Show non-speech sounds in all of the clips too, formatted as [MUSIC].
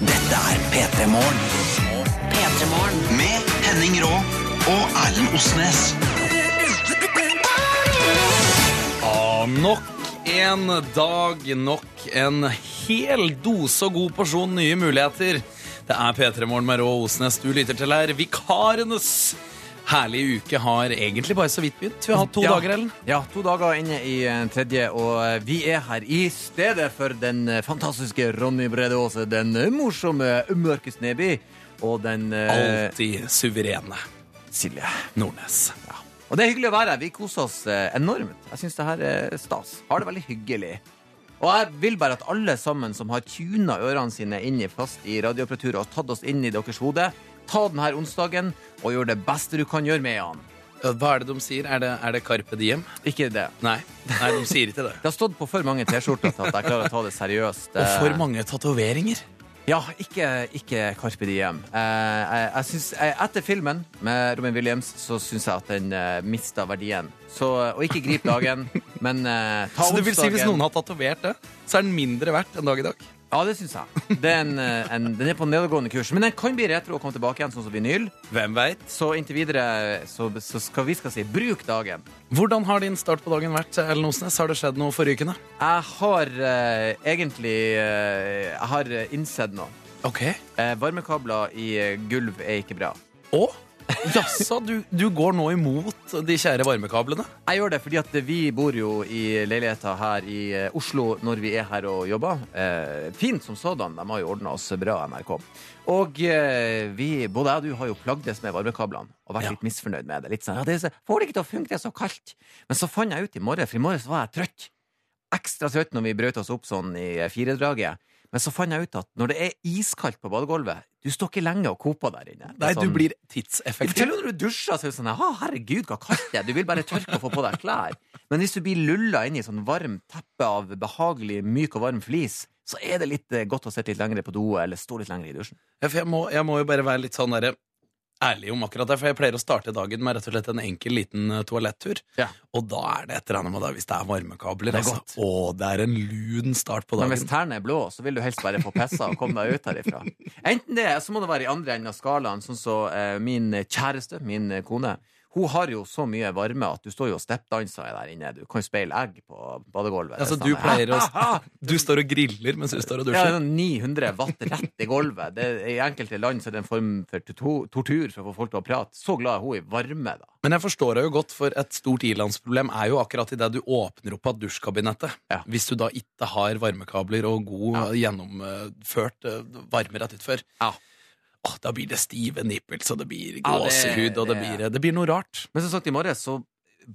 Dette er P3 Morgen. Med Henning Rå og Erlend Osnes. Ja, nok en dag, nok en hel dose og god porsjon nye muligheter. Det er P3 Morgen med Rå Osnes du lytter til her. Vikarenes herlige uke har egentlig bare så vidt begynt. Vi har hatt to Ja. dager, Ellen. Ja, to dager inne i eh, tredje, og eh, vi er her i stedet for den eh, fantastiske Ronny Brede Aase, den eh, morsomme Mørke Sneby og den eh, Alltid suverene Silje. Nordnes. Og det er hyggelig å være her. Vi koser oss eh, enormt. Jeg syns det her er stas. Har det veldig hyggelig. Og jeg vil bare at alle sammen som har tuna ørene sine inn i fast i radioapparaturet og tatt oss inn i deres hode, ta den her onsdagen og gjør det beste du kan gjøre med den. Hva er det de sier? Er det, er det Carpe Diem? Ikke det. Nei. Nei, de sier ikke det. Det har stått på for mange T-skjorter til at jeg klarer å ta det seriøst. Og eh, [LAUGHS] for mange tatoveringer. Ja, ikke, ikke Carpe Diem. Eh, jeg, jeg synes, eh, etter filmen med Robin Williams så syns jeg at den uh, mista verdien. Så, eh, og ikke grip [LAUGHS] dagen, men eh, ta Så det vil si hvis onsdagen. noen har tatovert det, så er den mindre verdt en dag i dag. Ja, det syns jeg. Det er en, eh, en, den er på nedadgående kurs. Men den kan bli retro og komme tilbake igjen, sånn som vinyl. Hvem veit? Så inntil videre så, så skal vi skal si bruk dagen. Hvordan har din start på dagen vært, Ellen Osnes? Har det skjedd noe forrykende? Jeg har eh, egentlig eh, Jeg har innsett noe. Ok. Eh, varmekabler i eh, gulv er ikke bra. Å? Jaså, du, du går nå imot de kjære varmekablene? Jeg gjør det fordi at vi bor jo i leiligheter her i eh, Oslo når vi er her og jobber. Eh, fint som sådan. De har jo ordna oss bra, NRK. Og eh, vi, både jeg og du har jo plagdes med varmekablene og vært Ja. litt misfornøyd med det. Litt sånn, ja, det er så, Får det ikke til å funke, det er så kaldt. Men så fant jeg ut i morges, for i morges var jeg trøtt. Ekstra trøtt når vi brøt oss opp sånn i eh, firedraget. Men så fant jeg ut at når det er iskaldt på badegulvet, du står ikke lenge og koker der inne. Det er Nei, du sånn- blir Fortell tidseffektiv. når du dusjer, så er det sånn «Ah, herregud, hva kaldt det er. Du vil bare tørke og få på deg klær. Men hvis du blir lulla inn i sånn varm teppe av behagelig, myk og varm flis, så er det litt eh, godt å sitte litt lengre på do eller stå litt lengre i dusjen. Ja, for jeg må, jeg må jo bare være litt sånn der, ærlig om akkurat det, for jeg pleier å starte dagen med rett og slett en enkel liten eh, toalettur. Ja. Og da er det et eller annet med det hvis det er varmekabler. Det er godt. altså. Å, det er en lun start på Men hvis dagen. tærne er blå, så vil du helst bare få pissa og komme deg ut herifra. Enten det, så må det være i andre enden av skalaen, sånn som eh, min kjæreste, min eh, kone. Hun har jo så mye varme at du står jo og steppdanser der inne. Du kan jo speile egg på badegulvet. Altså, Det er du sånn, pleier [LAUGHS] å Du står og griller mens du står Ja, og det dusjer. er sånn 900 watt rett i gulvet. Det, er- I enkelte land så er det en form for to- tortur for å få folk til å prate. Så glad er hun i varme, da. Men jeg forstår deg jo godt, for et stort ilandsproblem er jo akkurat idet du åpner opp av dusjkabinettet. Ja. Hvis du da ikke har varmekabler og god eh, gjennomført eh, varme rett utfor. Ja. Åh, da blir det stive nippels, og det Ja, blir det- gåsehud, og det det- blir, eh, det blir noe rart. Men som sagt, i morges så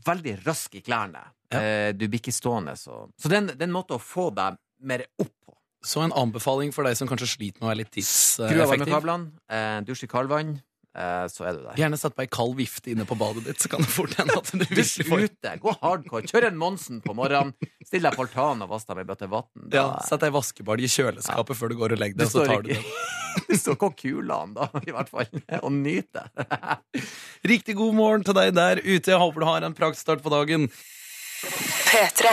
veldig rask i klærne. Ja. Eh, Du blir ikke stående, så Så den, den måten å få deg mer opp på. Så en anbefaling for deg som kanskje sliter med å være litt eh, Skru av tidseffektiv. varmekablene, eh, dusj i kaldvann, eh, så er du der. Gjerne sett på ei kald vifte inne på badet ditt, så kan det fort [LAUGHS] hende at du Dusj virkelig får ute, gå hardcore, kjør en Monsen på morgenen, still deg i altanen og vask deg med en bøtte vann. ja, Sett ei vaskebalje i kjøleskapet før du går og legger Du deg, og så står tar du ikke den. Du står ikke [LAUGHS] og kuler den, da, i hvert fall, og nyter det. Riktig god morgen til deg der ute. Jeg håper du har en praktstart på dagen. P3.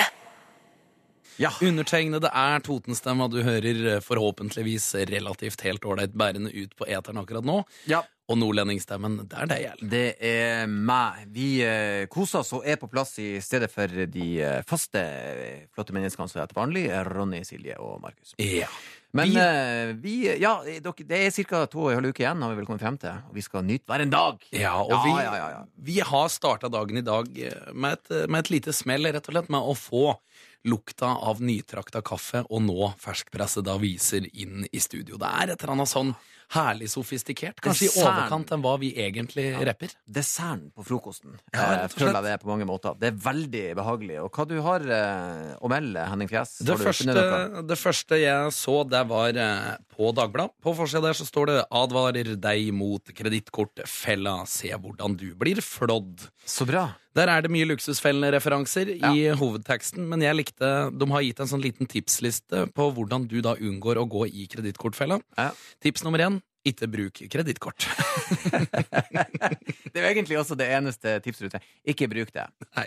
Ja. Undertegnede er Totenstemma du hører eh, forhåpentligvis relativt helt ålreit bærende ut på eteren akkurat nå. ja. Og nordlendingstemmen, det er deg, Erlend. Det er meg. Vi eh, koser oss og er på plass i stedet for de eh, faste eh, flotte menneskene som er til vanlig. eh, Ronny, Silje og Markus. Ja. Men Eh, vi, Vi- vi Ja, eh, dere, det er ca. to og en halv uke igjen, har vi vel kommet frem til. Og vi skal nyte hver en dag. Ja, og Ja, vi, ja, ja, ja. vi har starta dagen i dag eh, med et, med et lite smell, rett og slett, med å få lukta av nytrakta kaffe og nå ferskpressede aviser inn i studio. Det er et eller annet sånn herlig sofistikert, kanskje i Desserten. overkant enn hva vi egentlig rapper. Desserten på frokosten. Ja, eh, rett og slett. Føler jeg det er på mange måter. Det er veldig behagelig. Og hva du har eh, å melde, Henning Fjes? Det Har du første, funnet noe? det første jeg så, det var eh, på Dagbladet. På forsida der så står det 'Advarer deg mot kredittkortfella. Se hvordan du blir flådd'. Så bra. Der er det mye luksusfellende referanser i Ja. hovedteksten, men jeg likte De har gitt en sånn liten tipsliste på hvordan du da unngår å gå i kredittkortfella. Ja. Tips nummer én ikke bruk kredittkort. [LAUGHS] Det er jo egentlig også det eneste tipsrutet. Ikke bruk det. Nei.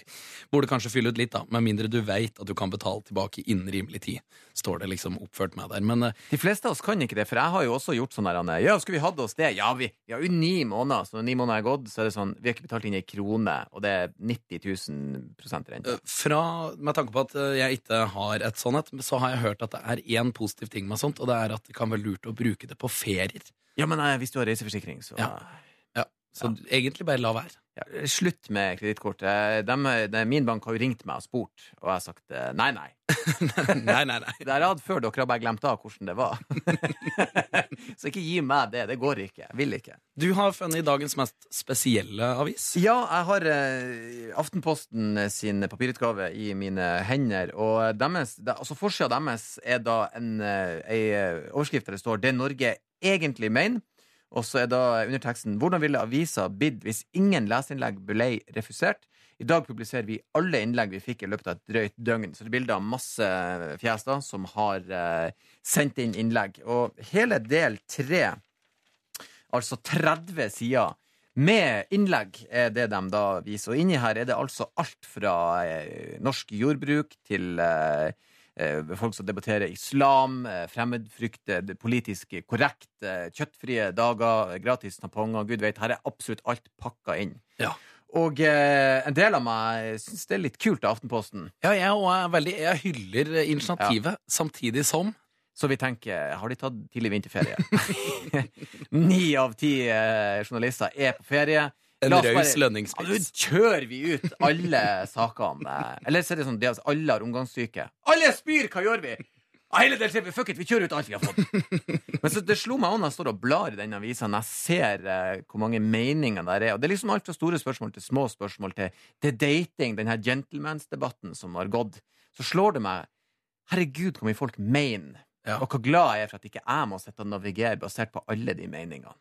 Burde kanskje fylle ut litt, da. Med mindre du veit at du kan betale tilbake innen rimelig tid. Står det liksom oppført med der. Men eh, De fleste av oss kan ikke det, for jeg har jo også gjort sånn der Anne. Ja, skulle vi hatt oss det? Ja, vi, vi har jo ni måneder, så når ni måneder er gått, så er det sånn Vi har ikke betalt inn ei krone, og det er 90 000 prosent rente. fra, med tanke på at eh, jeg ikke har et sånt et, så har jeg hørt at det er én positiv ting med sånt, og det er at det kan være lurt å bruke det på ferier. Ja, men eh, hvis du har reiseforsikring, så Ja. Ja, Så egentlig bare la være. [LAUGHS] Ja, Slutt med kredittkortet. Dem- de- Min bank har jo ringt meg og spurt, og jeg har sagt eh, nei, nei. nei, nei, nei. Det har jeg hatt før, dere har bare glemt av hvordan det var. [LAUGHS] så ikke gi meg det. Det går ikke. Jeg vil ikke. Du har funnet dagens mest spesielle avis. Ja, jeg har eh, Aftenposten sin papirutgave i mine hender. Og deres, da- altså forsida deres er da en eh, ei eh, overskrift der det står 'Det Norge egentlig mener'. Og så er da underteksten 'Hvordan ville avisa bidd hvis ingen leserinnlegg ble refusert?' I dag publiserer vi alle innlegg vi fikk i løpet av et drøyt døgn. Så det er bilder av masse fjes da, som har eh, sendt inn innlegg. Og hele del tre altså 30 sider med innlegg er det de da viser. Og inni her er det altså alt fra eh, norsk jordbruk til eh, eh, folk som debatterer islam, eh, fremmedfrykt, eh, det politisk korrekt, eh, kjøttfrie dager, eh, gratis tamponger, gud vet. Her er absolutt alt pakka inn. Ja. Og eh, en del av meg syns det er litt kult av Aftenposten. Ja, jeg, også er veldig, jeg hyller initiativet, samtidig som Så vi tenker, har de tatt tidlig vinterferie? [LAUGHS] Ni av ti eh, journalister er på ferie. en La oss raus bare- Ja, Nå lønningspris. kjører vi ut alle sakene. Eller så er det sånn det er altså, alle har omgangssyke. Alle spyr! Hva gjør vi? Ja, Hele del tre, Fuck it, vi kjører ut alt vi har fått. Men så det slo meg også når jeg står og blar i den avisa, når jeg ser eh, hvor mange meninger der er. Og det er liksom alt fra store spørsmål til små spørsmål til, til dating, den her gentlemansdebatten som har gått. Så slår det meg Herregud, hvor mye folk mener. Ja. Og hvor glad jeg er for at ikke jeg må sitte og navigere basert på alle de meningene.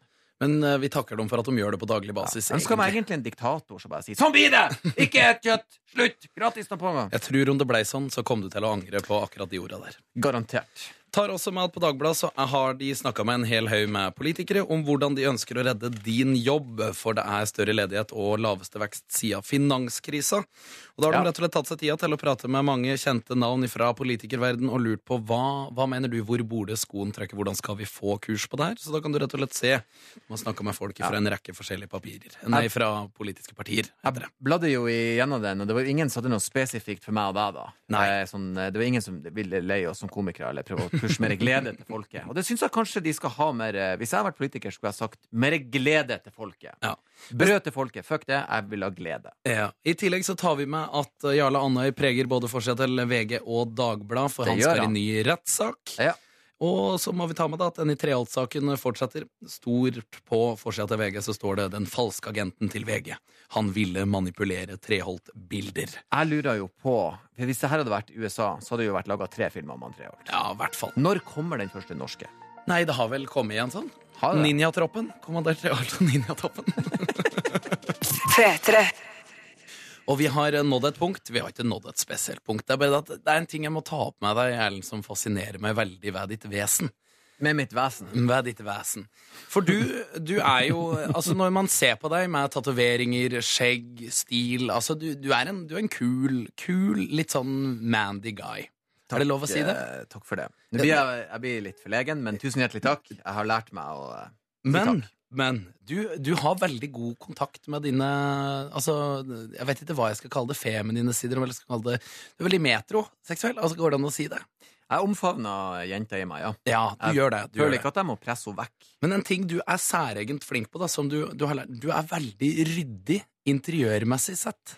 Men eh, vi takker dem for at de gjør det på daglig basis. Jeg ønsker meg egentlig. egentlig en diktator som bare sier Sånn blir det! Ikke et kjøtt! Slutt! Gratis tamponger! Jeg tror om det blei sånn, så kom du til å angre på akkurat de orda der. Garantert. Tar også med at På Dagbladet så har de snakka med en hel haug med politikere om hvordan de ønsker å redde din jobb, for det er større ledighet og laveste vekst siden finanskrisa. Og Da har Ja. de rett og slett tatt seg tida til å prate med mange kjente navn fra politikerverden og lurt på hva, hva mener du, hvor burde skoen trekke, hvordan skal vi få kurs på det her? Så da kan du rett og slett se. De har snakka med folk fra en rekke forskjellige papirer. Nei, fra politiske partier. heter det. Jeg bladde jo igjennom den, og det var jo ingen som hadde noe spesifikt for meg og deg, da. Nei. Eh, Sånn, eh, det var ingen som ville leie oss som komikere eller prøve å pushe mer glede til folket. Og det syns jeg kanskje de skal ha mer eh, Hvis jeg hadde vært politiker, skulle jeg sagt mer glede til folket. Ja. Brød til folket. Fuck det, jeg vil ha glede. Ja. I tillegg så tar vi med at eh, Jarle Andøy preger både forsida til VG og Dagbladet, for Det han gjør skal i han. ny rettssak. Ja. Og så må vi ta med da at den i Treholt-saken fortsetter. Stort på forsida til VG så står det 'Den falske agenten til VG'. Han ville manipulere Treholt-bilder. Jeg lurer jo på for Hvis det her hadde vært USA, så hadde det jo vært laga tre filmer om han tre år. Ja, i hvert fall. Når kommer den første norske? Nei, det har vel kommet igjen sånn. Har det? Ninjatroppen. Kommandør Treholt og Ninjatoppen. P3. Og vi har eh, nådd et punkt. Vi har ikke nådd et spesielt punkt. Det er bare at det er en ting jeg må ta opp med deg, Erlend, som fascinerer meg veldig ved ditt vesen. Med mitt vesen. Hva er ditt vesen? For du, du er jo Altså, når man ser på deg med tatoveringer, skjegg, stil Altså, du, du, er en, du er en kul, kul, litt sånn mandy guy. er det lov å si det? Eh, takk for det. Nå blir jeg, jeg blir litt forlegen, men tusen hjertelig takk. Jeg har lært meg å eh, si Men, takk. men du, du har veldig god kontakt med dine Altså, jeg vet ikke hva jeg skal kalle det. Feminine sider. Eller skal kalle det Du er veldig metroseksuell. Altså, går det an å si det? Jeg omfavna jenta i meg, ja. Ja, du Jeg gjør det. Du gjør Føler det. ikke at jeg må presse henne vekk. Men en ting du er særegent flink på, da, som du, du har lært Du er veldig ryddig interiørmessig sett.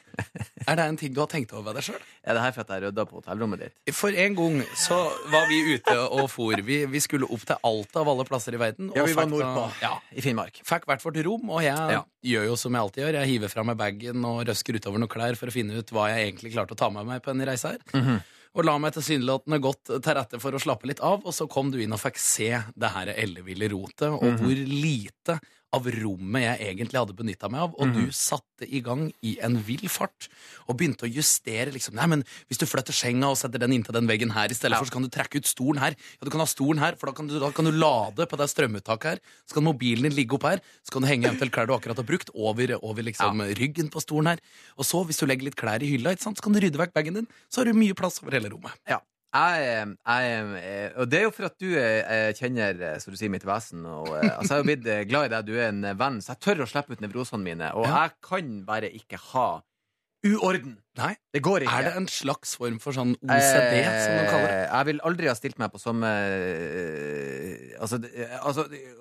Er det en ting du har tenkt over ved deg sjøl? Er det her for at jeg rydda på hotellrommet ditt? For en gang så var vi ute og for. Vi, vi skulle opp til Alta av alle plasser i verden. og Ja, vi var fikk nordpå. da- sånn- Ja, I Finnmark. Fikk hvert vårt rom, og jeg Ja. gjør jo som jeg alltid gjør. Jeg hiver fra meg bagen og røsker utover noen klær for å finne ut hva jeg egentlig klarte å ta med meg på en reise her. Og la meg tilsynelatende godt til rette for å slappe litt av, og så kom du inn og fikk se det her elleville rotet, og hvor lite av rommet jeg egentlig hadde benytta meg av, og Mhm. du satte i gang i en vill fart og begynte å justere liksom Nei, men hvis du flytter senga og setter den inntil den veggen her i stedet for, så kan du trekke ut stolen her. Ja, du kan ha stolen her, for da kan du, da kan du lade på det strømuttaket her. Så kan mobilen din ligge opp her, så kan du henge eventuelt klær du akkurat har brukt, over, over liksom ryggen på stolen her. Og så, hvis du legger litt klær i hylla, ikke sant, så kan du rydde vekk bagen din, så har du mye plass over hele rommet. Ja. Jeg, eh, jeg, eh, og det er jo for at du eh, kjenner eh, så du sier, mitt vesen. Og, eh, altså, jeg er jo blitt eh, glad i deg. Du er en eh, venn, så jeg tør å slippe ut nevrosene mine. Og Ja. jeg kan bare ikke ha uorden. Nei, Det går ikke. Er det en slags form for sånn OCD, som de kaller det? Eh, Jeg vil aldri ha stilt meg på samme eh, Altså, det- eh, altså det-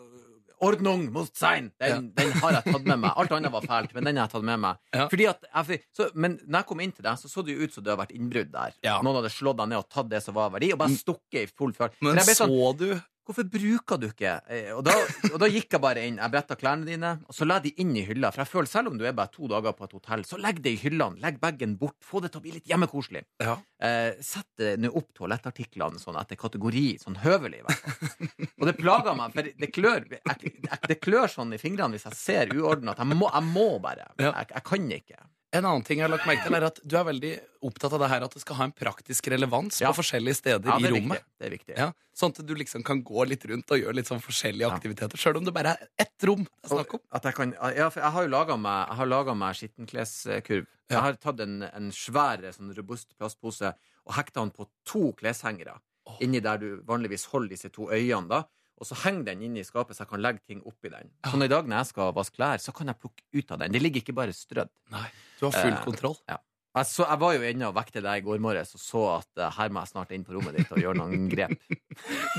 Ordnung mot sein! Den, den har jeg tatt med [LAUGHS] meg. Alt annet var fælt, men den har jeg tatt med meg. Ja. Fordi at jeg, så, men når jeg kom inn til deg, så så det jo ut som det hadde vært innbrudd der. Ja. Mm. Noen hadde slått deg ned og tatt det som var av verdi, og bare stukket i full fart. Men Men jeg ble sånn, så du Hvorfor bruker du ikke eh, Og da, og da gikk jeg bare inn. Jeg bretta klærne dine, og så la de inn i hylla. For jeg føler selv om du er bare to dager på et hotell, så legg det i hyllene. Legg bagen bort. Få det til å bli litt hjemmekoselig. Ja. Eh, sett eh, nå opp toalettartiklene sånn etter kategori, sånn høvelig, i hvert fall. Og det plager meg, for det klør, jeg, jeg, det klør sånn i fingrene hvis jeg ser uorden at jeg må, jeg må bare. Ja. Jeg, jeg kan ikke. En annen ting jeg har lagt merke til, er at du er veldig opptatt av det her at det skal ha en praktisk relevans Ja. på forskjellige steder Ja, det i er rommet. viktig. Det er viktig. Ja, sånn at du liksom kan gå litt rundt og gjøre litt sånn forskjellige Ja. aktiviteter, sjøl om det bare er ett rom det er snakk om. At jeg kan, ja, for jeg har jo laga meg, jeg har laget meg skittenkleskurv. Jeg har tatt en, en svær, sånn robust plastpose og hekta den på to kleshengere. Inni der du vanligvis holder disse to øyene, da. Og så henger den inne i skapet, så jeg kan legge ting oppi den. Sånn i dag når jeg skal vaske klær, så kan jeg plukke ut av den. Det ligger ikke bare strødd. Nei, du har full Eh, kontroll. Jeg, så, jeg var jo inne og vekte deg i går morges og så at eh, her må jeg snart inn på rommet ditt og gjøre noen grep.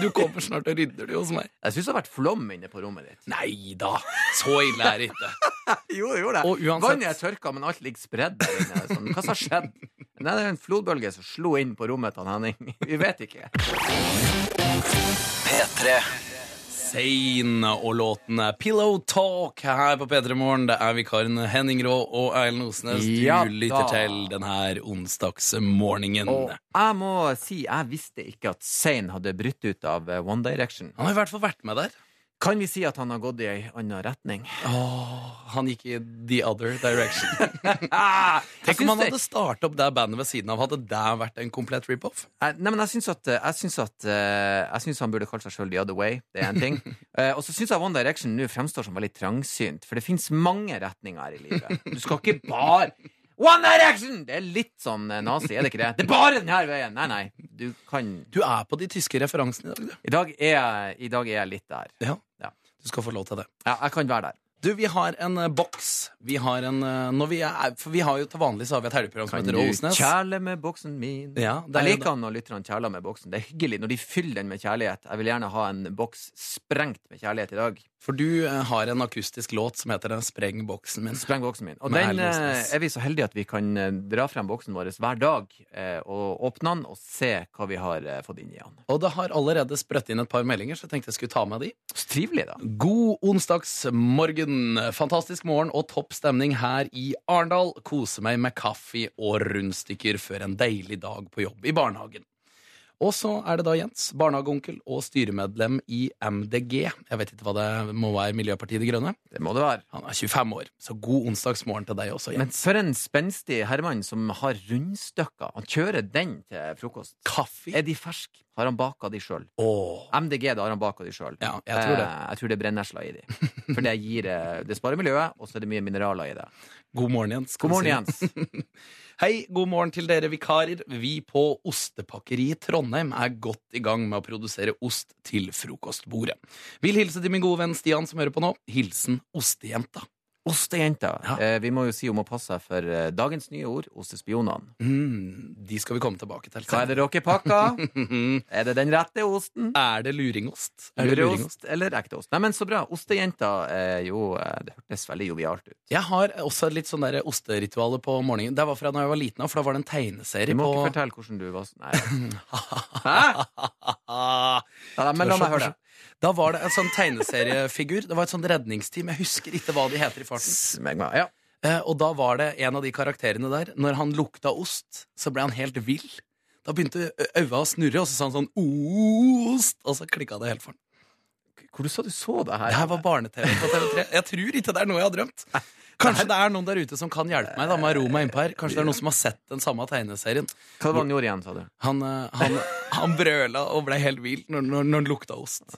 Du kommer snart og rydder det hos meg. Jeg syns det har vært flom inne på rommet ditt. Nei da, så ille er det ikke. Jo, det gjorde Og uansett- Vannet er tørka, men alt ligger spredd der inne. Sånn. Hva som har skjedd? Nei, det er en flodbølge som slo inn på rommet til han Henning. [LAUGHS] Vi vet ikke. P3. Sein og låten er Pillow Talk her på P3 Morgen. Det er vikaren Henning Rå og Eilen Osnes du Ja lytter da. til denne onsdagsmorgenen. Og jeg må si, jeg visste ikke at Zain hadde brutt ut av eh, One Direction. Han har i hvert fall vært med der. Kan vi si at han har gått i ei anna retning? Han gikk i the other [LAUGHS] direction. Ah, jeg Tenk om syns han det- hadde starta opp det bandet ved siden av. Hadde det vært en komplett rip-off? Jeg- Nei, men jeg syns at, eh, jeg syns at eh, Jeg syns han burde kalt seg sjøl The Other Way. Det er en ting. Eh, Og så syns jeg One Direction nå fremstår som veldig trangsynt, for det fins mange retninger her i livet. Du skal ikke bare One Direction! Det er litt sånn eh, nazi, er det ikke det? Det er bare denne veien! Nei, nei. Du kan Du er på de tyske referansene i dag, du. I dag er jeg, i dag er jeg litt der. Ja. Ja. Du skal få lov til det. Ja, jeg kan være der. Du, vi har en eh, boks. Vi har en eh, når vi er, For vi har jo til vanlig så har vi et helgeprogram som Kan heter du Åsnes. kjæle med boksen min? Ja, det er Jeg jo liker han når lytterne kjæler med boksen. Det er hyggelig når de fyller den med kjærlighet. Jeg vil gjerne ha en boks sprengt med kjærlighet i dag. For du eh, har en akustisk låt som heter Den spreng boksen min. Spreng boksen min. Og Med den Erlend Osnes. eh, er vi så heldige at vi kan eh, dra frem boksen vår hver dag eh, og åpne den og se hva vi har eh, fått inn i den. Og det har allerede sprøtt inn et par meldinger, så jeg tenkte jeg skulle ta med de. Så trivelig, da. God onsdagsmorgen. Fantastisk morgen og topp stemning her i Arendal. Kose meg med kaffe og rundstykker før en deilig dag på jobb i barnehagen. Og så er det da Jens, barnehageonkel og styremedlem i MDG. Jeg vet ikke hva det må være Miljøpartiet De Grønne. Det må det være. Han er 25 år, så god onsdagsmorgen til deg også, Jens. Men for en spenstig herremann som har rundstykker. Han kjører den til frokost. Kaffe? Er de ferske? Har han baka de sjøl? Åh. MDG, da har han baka de sjøl. Ja, jeg tror det. jeg tror det er brennesla i de. For det gir eh, Det sparer miljøet, og så er det mye mineraler i det. God morgen, Jens. skal God vi morgen, si. Jens. [LAUGHS] Hei, god morgen til dere vikarer. Vi på Ostepakkeriet Trondheim er godt i gang med å produsere ost til frokostbordet. Vil hilse til min gode venn Stian som hører på nå. Hilsen ostejenta. Ostejenta. Ja. Eh, vi må jo si hun må passe seg for eh, dagens nye ord, ostespionene. Mm, de skal vi komme tilbake til. Hva er det dere pakker? er det den rette osten? [LAUGHS] Er det luringost? Er det luringost? Lureost eller ekte ost? Nei, men så bra. Ostejenta er jo eh, Det hørtes veldig jovialt ut. Jeg har også et litt sånn der osterituale på morgenen. Det var fra da jeg var liten, av, for da var det en Du tegneserie må ikke [LAUGHS] på fortelle hvordan du var Nei. Hæ? Nei, nei, men la meg høre det. Da var det en sånn tegneseriefigur. Det var et sånn redningsteam. Jeg husker ikke hva de heter i farten. Smeg meg. Ja. Eh, og da var det en av de karakterene der Når han lukta ost, så ble han helt vill. Da begynte øynene å snurre, og så sa han sånn 'ost', og så klikka det helt for han. Hvor du sa du så det Det her? her var barne-TV på TV3. Jeg tror ikke det er noe jeg har drømt. Kanskje det er noen der ute som kan hjelpe meg. da med å ro meg innpå her Kanskje det er noen som har sett den samme tegneserien. Hva var det han gjorde igjen, sa du? Han, eh, han, han brøla og ble helt vilt når, når, når han lukta ost.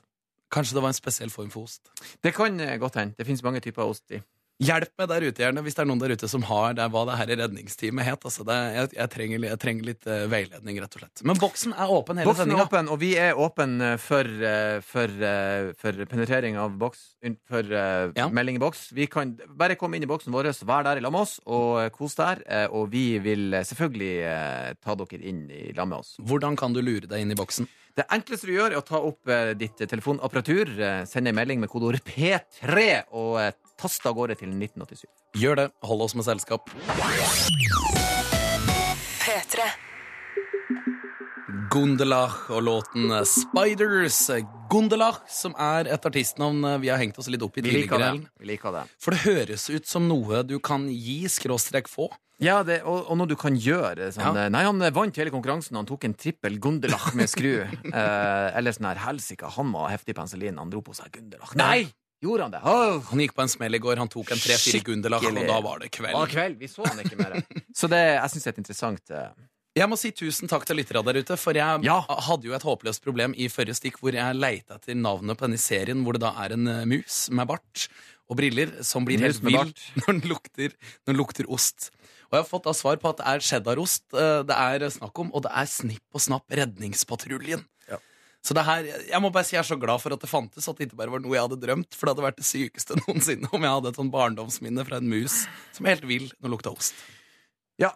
Kanskje det var en spesiell form for ost. Det kan eh, godt hende. Det finnes mange typer ost i. Hjelp meg der ute gjerne hvis det er noen der ute som har det, er hva det her redningsteamet het. Altså, det, jeg, jeg, trenger, jeg trenger litt eh, veiledning, rett og slett. Men boksen er åpen hele Boksen er sendinga. åpen, og vi er åpen eh, for, eh, for, eh, for penetrering av boks unn- For eh, Ja. melding i boks. Vi kan bare komme inn i boksen vår, vær der i lag med oss, og eh, kos der. eh, Og vi vil eh, selvfølgelig eh, ta dere inn i lag med oss. Hvordan kan du lure deg inn i boksen? Det enkleste du gjør, er å ta opp eh, ditt telefonapparatur, eh, sende en melding med kodeord P3 og eh, taste av gårde til 1987. Gjør det. Hold oss med selskap. P3. Gundelach og låten eh, Spiders. Gundelach, som er et artistnavn eh, vi har hengt oss litt opp i Vi liker tidligere. det. Ellen. Vi liker det. For det høres ut som noe du kan gi skråstrek få. Ja, det, og, og noe du kan gjøre. Sånn, Ja. Nei, han vant hele konkurransen. Han tok en trippel Gundelach med [LAUGHS] skru. eh, eller sånn her helsike, han var heftig penicillin. Han dro på seg Gundelach. Nei! Gjorde han det? Åh! Han gikk på en smell i går, han tok en tre-fire Skikkelig. Gundelach, og da var det kveld. Ah, kveld. Vi så han ikke mer. [LAUGHS] Så det, jeg syns det er et interessant eh, [LAUGHS] Jeg må si tusen takk til lytterne der ute, for jeg Ja. hadde jo et håpløst problem i forrige stikk, hvor jeg leita etter navnet på denne serien, hvor det da er en eh, mus med bart og briller som blir Mus helt med vill bart. [LAUGHS] når den lukter, når den lukter ost. Og jeg har fått da svar på at det er cheddarost eh, det er snakk om, og det er Snipp og Snapp Redningspatruljen. Ja. Så det her, jeg må bare si jeg er så glad for at det fantes, at det ikke bare var noe jeg hadde drømt, for det hadde vært det sykeste [LAUGHS] noensinne om jeg hadde et sånn barndomsminne fra en mus som er helt vill når det lukta ost. Ja.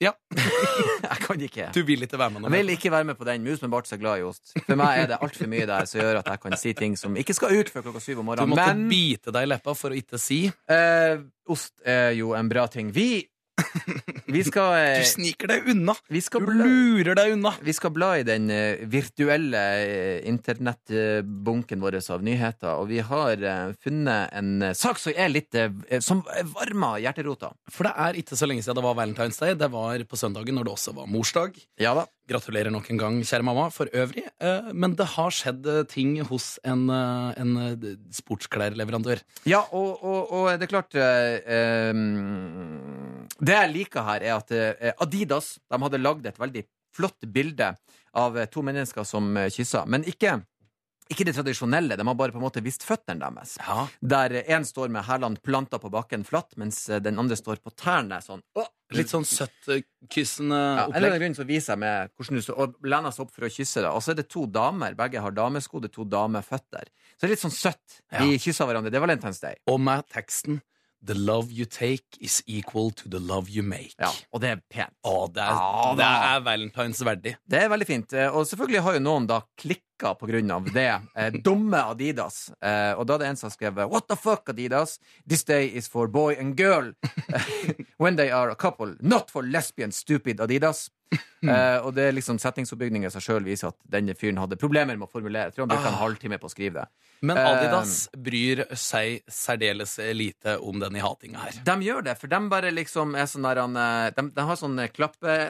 Ja, Jeg kan ikke Du vil ikke være med Jeg noe mer. vil ikke være med på den. Mus med bart er glad i ost. For meg er det altfor mye der som gjør at jeg kan si ting som ikke skal ut før klokka syv om Du morgenen. måtte Men bite deg i leppa for å ikke si. eh, ost er jo en bra ting. Vi Vi skal, eh, Du sniker deg unna! vi skal Du bla- lurer deg unna! Vi skal bla i den eh, virtuelle eh, internettbunken vår av nyheter, og vi har eh, funnet en eh, sak som er litt eh, Som varmer hjerterota. For det er ikke så lenge siden det var Valentine's Day. Det var på søndagen når det også var morsdag. Ja da. Gratulerer nok en gang, kjære mamma, for øvrig. Eh, Men det har skjedd eh, ting hos en, eh, en eh, sportsklærleverandør. Ja, og, og, og det er klart eh, eh, Det jeg liker her, er at eh, Adidas de hadde lagd et veldig flott bilde av eh, to mennesker som eh, kyssa, men ikke, ikke det tradisjonelle. De har bare på en måte vist føttene deres. Ja. Der én står med hælene planta på bakken flatt, mens eh, den andre står på tærne sånn. Å! Litt sånn søtt eh, kyssende Ja, en eller opplegg. annen grunn så viser jeg meg hvordan du står og lener seg opp for å kysse deg. Og så er det to damer. Begge har damesko. Det er to dameføtter. Så det er litt sånn søtt. De kysser hverandre. Det er Valentine's Day. Og med teksten 'The love you take is equal to the love you make'. Ja, og det er pent. Å, det er, Ja, det da. er Valentine's verdig. Det er veldig fint. Eh, Og selvfølgelig har jo noen da klikka på grunn av det. Eh, dumme Adidas. Eh, og da er det en som har skrevet What the fuck, Adidas? This day is for boy and girl. [LAUGHS] When they are a couple. Not for lesbian, stupid Adidas. Eh, og det er liksom setningsoppbygningen i seg sjøl viser at denne fyren hadde problemer med å formulere. Jeg tror han brukte en halvtime på å skrive det. Men Adidas bryr seg særdeles lite om denne hatinga her. De gjør det, for de bare liksom er sånn der han, eh, De, de har sånn eh,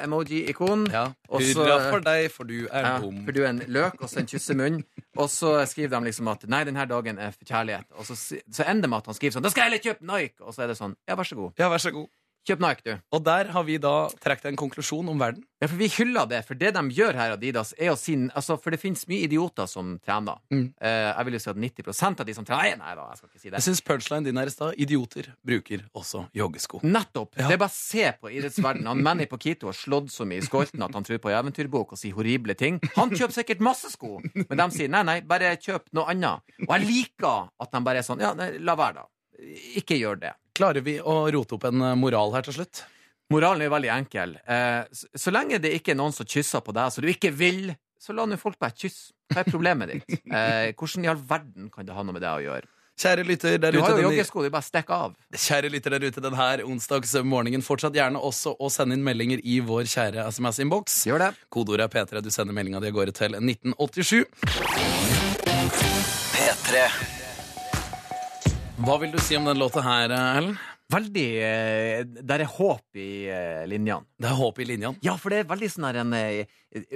klappe-emoji-ikon. Ja, og så- Hurra for deg, for du er Ja, dum. for du er en løk, og så en kyssemunn. Og så skriver de liksom at 'nei, denne dagen er for kjærlighet'. Og så, si- så ender det med at han skriver sånn 'da skal jeg heller kjøpe Nike'. Og så er det sånn 'ja, vær så god, Ja, vær så god. kjøp Nike, du'. Og der har vi da trukket en konklusjon om verden. Ja, for vi hyller det, for det de gjør her, Adidas, er å si altså, For det finnes mye idioter som trener. Mm. Eh, jeg vil jo si at 90 av de som trener Nei, nei da, jeg skal ikke si Jeg det. syns punchline din her i stad. Idioter bruker også joggesko. Nettopp! Ja. Det er bare å se på idrettsverdenen. Han Manny Pacquito har slått så mye i skolten at han tror på ei eventyrbok og sier horrible ting. Han kjøper sikkert masse sko, men de sier nei, nei, bare kjøp noe annet. Og jeg liker at de bare er sånn ja, nei, la være, da. Ikke gjør det. Klarer vi å rote opp en eh, moral her til slutt? Moralen er jo veldig enkel. Eh, så, så lenge det ikke er noen som kysser på deg, så du ikke vil, så la nå folk bare kysse. Hva er problemet ditt? Eh, hvordan i all verden kan det ha noe med det å gjøre? Kjære lytter der Du har ute, jo den, joggesko, du bare stikker av. kjære lytter der ute denne onsdagsmorgenen, fortsatt gjerne også å sende inn meldinger i vår kjære SMS-innboks. Gjør det. Kodeordet er P3. Du sender meldinga di av gårde til 1987. P3. Hva vil du si om den låta her, Erlend? veldig eh, Der er håp i eh, linjene. Det er håp i linjene. Ja, for det er veldig sånn her en eh,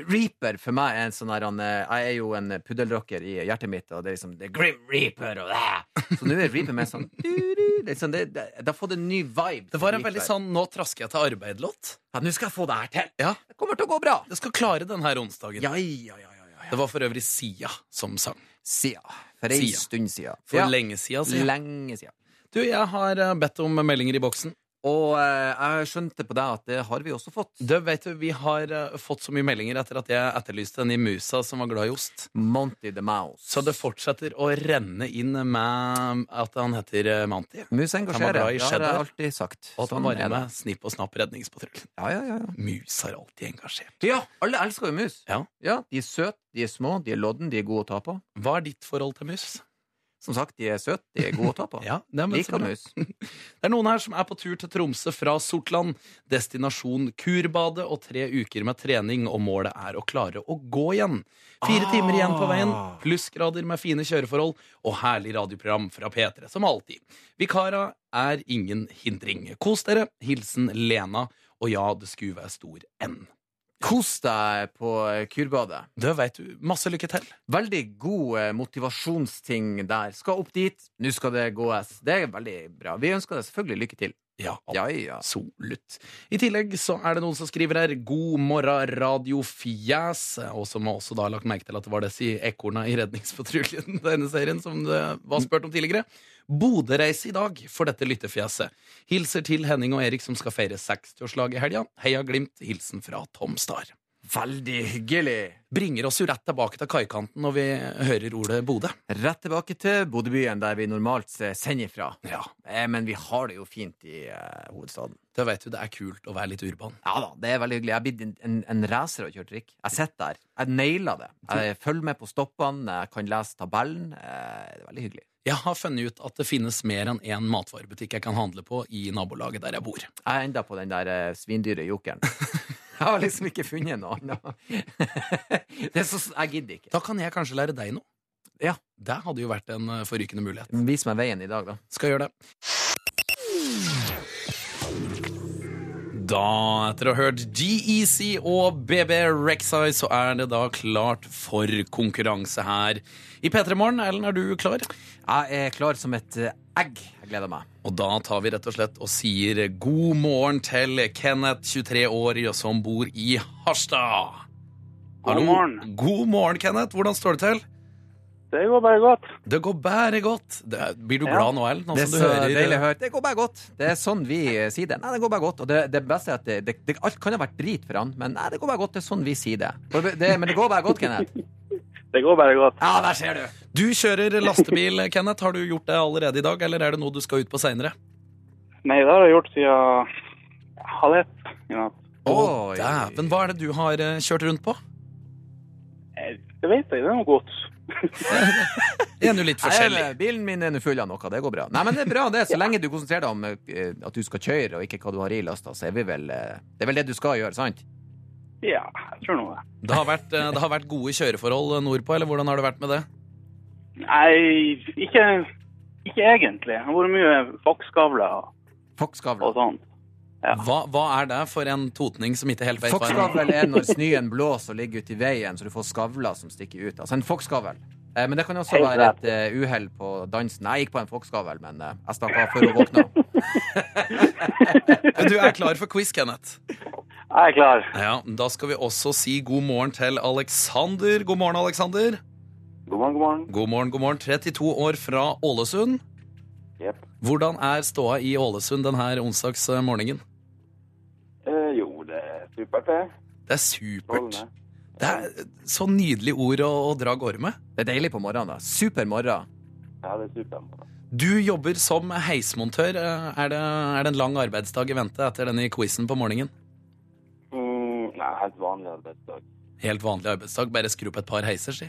Reaper for meg er en sånn her en, eh, Jeg er jo en puddelrocker i hjertet mitt, og det er liksom The Grim Reaper og det. Så nå er Reaper mer sånn, du, du, det, er sånn det, det, det har fått en ny vibe. Det var en for veldig Reaper. sånn 'nå trasker jeg til arbeid'-låt. Ja, nå skal jeg få det her til. Ja, Det kommer til å gå bra. Det skal klare den her onsdagen. Ja, ja, ja, ja, ja. Det var for øvrig Sia som sang. Sia. For ei Sia. stund sia. For ja. lenge sia, sier jeg. Lenge sia. Du, jeg har eh, bedt om meldinger i boksen. Og eh, jeg skjønte på deg at det har vi også fått. Du, vet du, Vi har eh, fått så mye meldinger etter at jeg etterlyste den i musa som var glad i ost. Monty the Mouse. Så det fortsetter å renne inn med at han heter eh, Manti. Mus Han var engasjerer. glad i Det har jeg cheddar. alltid sagt. Sånn Og at han var er det. med Snipp og Snapp redningspatruljen. Ja, ja, ja, ja. Mus er alltid engasjert. ja, alle elsker jo mus. Ja. De er søte, de er små, de er lodden, de er gode å ta på. Hva er ditt forhold til mus? Som sagt, de er søte, de er gode å ta på. [LAUGHS] Ja, det, er men så Liker bra. mus. det er noen her som er på tur til Tromsø fra Sortland. Destinasjon Kurbadet og tre uker med trening, og målet er å klare å gå igjen. Fire timer igjen på veien, plussgrader med fine kjøreforhold og herlig radioprogram fra P3 som alltid. Vikara er ingen hindring. Kos dere. Hilsen Lena. Og ja, det skulle være stor N. Kos deg på eh, kurbadet. Det veit du. Masse lykke til. Veldig god eh, motivasjonsting der. Skal opp dit, nå skal det gåes. Det er veldig bra. Vi ønsker deg selvfølgelig lykke til. Ja, Ja, ja. Absolutt. I tillegg så er det noen som skriver her 'God morgen, radiofjes', og som har også da lagt merke til at det var disse ekorna i Redningspatruljen, denne serien, som det var spurt om tidligere. Bodø-reise i dag for dette lyttefjeset. Hilser til Henning og Erik som skal feire 60-årslag i helga. Heia Glimt. Hilsen fra Tom Star. Veldig hyggelig. Bringer oss jo rett tilbake til kaikanten når vi hører ordet Bodø. Rett tilbake til Bodøbyen, der vi normalt eh, sender fra. Ja, Eh, Men vi har det jo fint i eh, hovedstaden. det vet du, det er kult å være litt urban. Ja da, det er veldig hyggelig. Jeg har blitt en, en, en racer og kjørt trikk. Jeg sitter der. Jeg naila det. Jeg følger med på stoppene, jeg kan lese tabellen. Eh, Det er veldig hyggelig. Jeg har funnet ut at det finnes mer enn én matvarebutikk jeg kan handle på i nabolaget der jeg bor. Jeg er enda på den der eh, svindyre jokeren. [LAUGHS] Jeg har liksom ikke funnet noe annet. [LAUGHS] Det er så, jeg gidder ikke. Da kan jeg kanskje lære deg noe. Ja. Det hadde jo vært en eh, forrykende mulighet. Vis meg veien i dag, da. Skal gjøre det. Da, etter å ha hørt GEC og BB Rexeye, så er det da klart for konkurranse her i P3 Morgen. Ellen, er du klar? Jeg er klar som et eh, egg. Jeg gleder meg. Og da tar vi rett og slett og sier god morgen til Kenneth, 23 år, som bor i Harstad. God Hallo. morgen. God morgen, Kenneth. Hvordan står det til? Det går bare godt. Det går bare godt. Det, er- blir du Ja. glad nå, Ellen? Nå Det er Sånn som så du hører- deilig å høre. Det går bare godt. Det er sånn vi eh, sier det. Nei, det går bare godt. Og det, det beste er at det, det, det, alt kan ha vært drit for han, men nei, det går bare godt. Det er sånn vi sier det. Og det, det men det går bare godt, Kenneth. Det går bare godt. Ja, der ser du. Du kjører lastebil, [LAUGHS] Kenneth. Har du gjort det allerede i dag, eller er det noe du skal ut på seinere? Nei, det har jeg gjort siden halv ett i natt. Oi. dæven. Hva er det du har eh, kjørt rundt på? Nei, Det vet jeg, det er noe godt. Det er jo litt forskjellig. Nei, bilen min er nå full av noe. Det går bra. Nei, men det er bra, det. Så lenge du konsentrerer deg om eh, at du skal kjøre, og ikke hva du har i lasta, så er vi vel eh, Det er vel det du skal gjøre, sant? Ja, jeg tror nå det. Det har vært, eh, det har vært gode kjøreforhold nordpå, eller hvordan har det vært med det? Nei, ikke, ikke egentlig. Det har vært mye fokkskavler og, Fokkskavl. og sånn. Ja. Hva, hva er det for en totning som ikke helt vet hva er? Fokkskavl er når snøen blåser og ligger ute i veien, så du får skavler som stikker ut. Altså en fokkskavl. Eh, Men det kan også Helt være rett. et eh, uhell på dansen. Jeg gikk på en fokkskavl, men eh, jeg stakk av før hun våkna. Du er klar for quiz, Kenneth. Jeg er klar. Ja, Da skal vi også si god morgen til Alexander. God morgen, Alexander. God morgen, god morgen. God morgen, god morgen. 32 år fra Ålesund. Jepp. Hvordan er ståa i Ålesund denne onsdagsmorgenen? Eh, jo, det er supert, det. Det er supert. Det er så nydelig ord å, å dra gårde med. Det er deilig på morgenen, da. Super morgen. Ja, det er supert. Du jobber som heismontør. Eh, Er det, er det en lang arbeidsdag i vente etter denne quizen på morgenen? Mm, nei, helt vanlig arbeidsdag. Helt vanlig arbeidsdag, bare skru på et par heiser, si.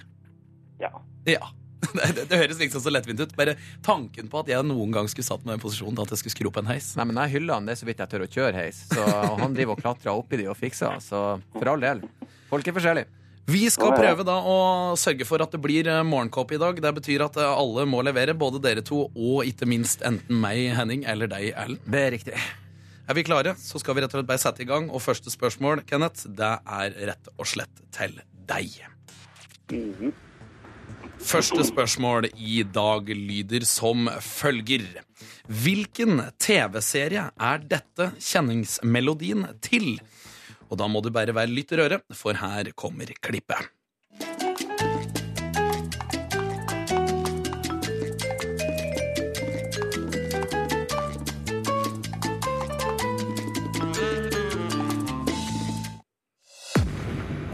Ja. Ja. [LAUGHS] Det, det, det høres liksom så lettvint ut. Bare tanken på at jeg noen gang skulle satt meg i den posisjonen at jeg skulle skru på en heis. Nei, men jeg hyller han, det er så vidt jeg tør å kjøre heis. Så og han driver og klatrer oppi de og fikser, så for all del. Folk er forskjellige. Vi skal Ja, ja. prøve da å sørge for at det blir eh, morgenkåpe i dag. Det betyr at eh, alle må levere, både dere to og ikke minst enten meg, Henning, eller deg, Erlend. Det er riktig. Er vi klare, så skal vi rett og slett bare sette i gang. Og første spørsmål, Kenneth, det er rett og slett til deg. Første spørsmål i dag lyder som følger. Hvilken TV-serie er dette kjenningsmelodien til? Og da må du bare være litt røre, for her kommer klippet.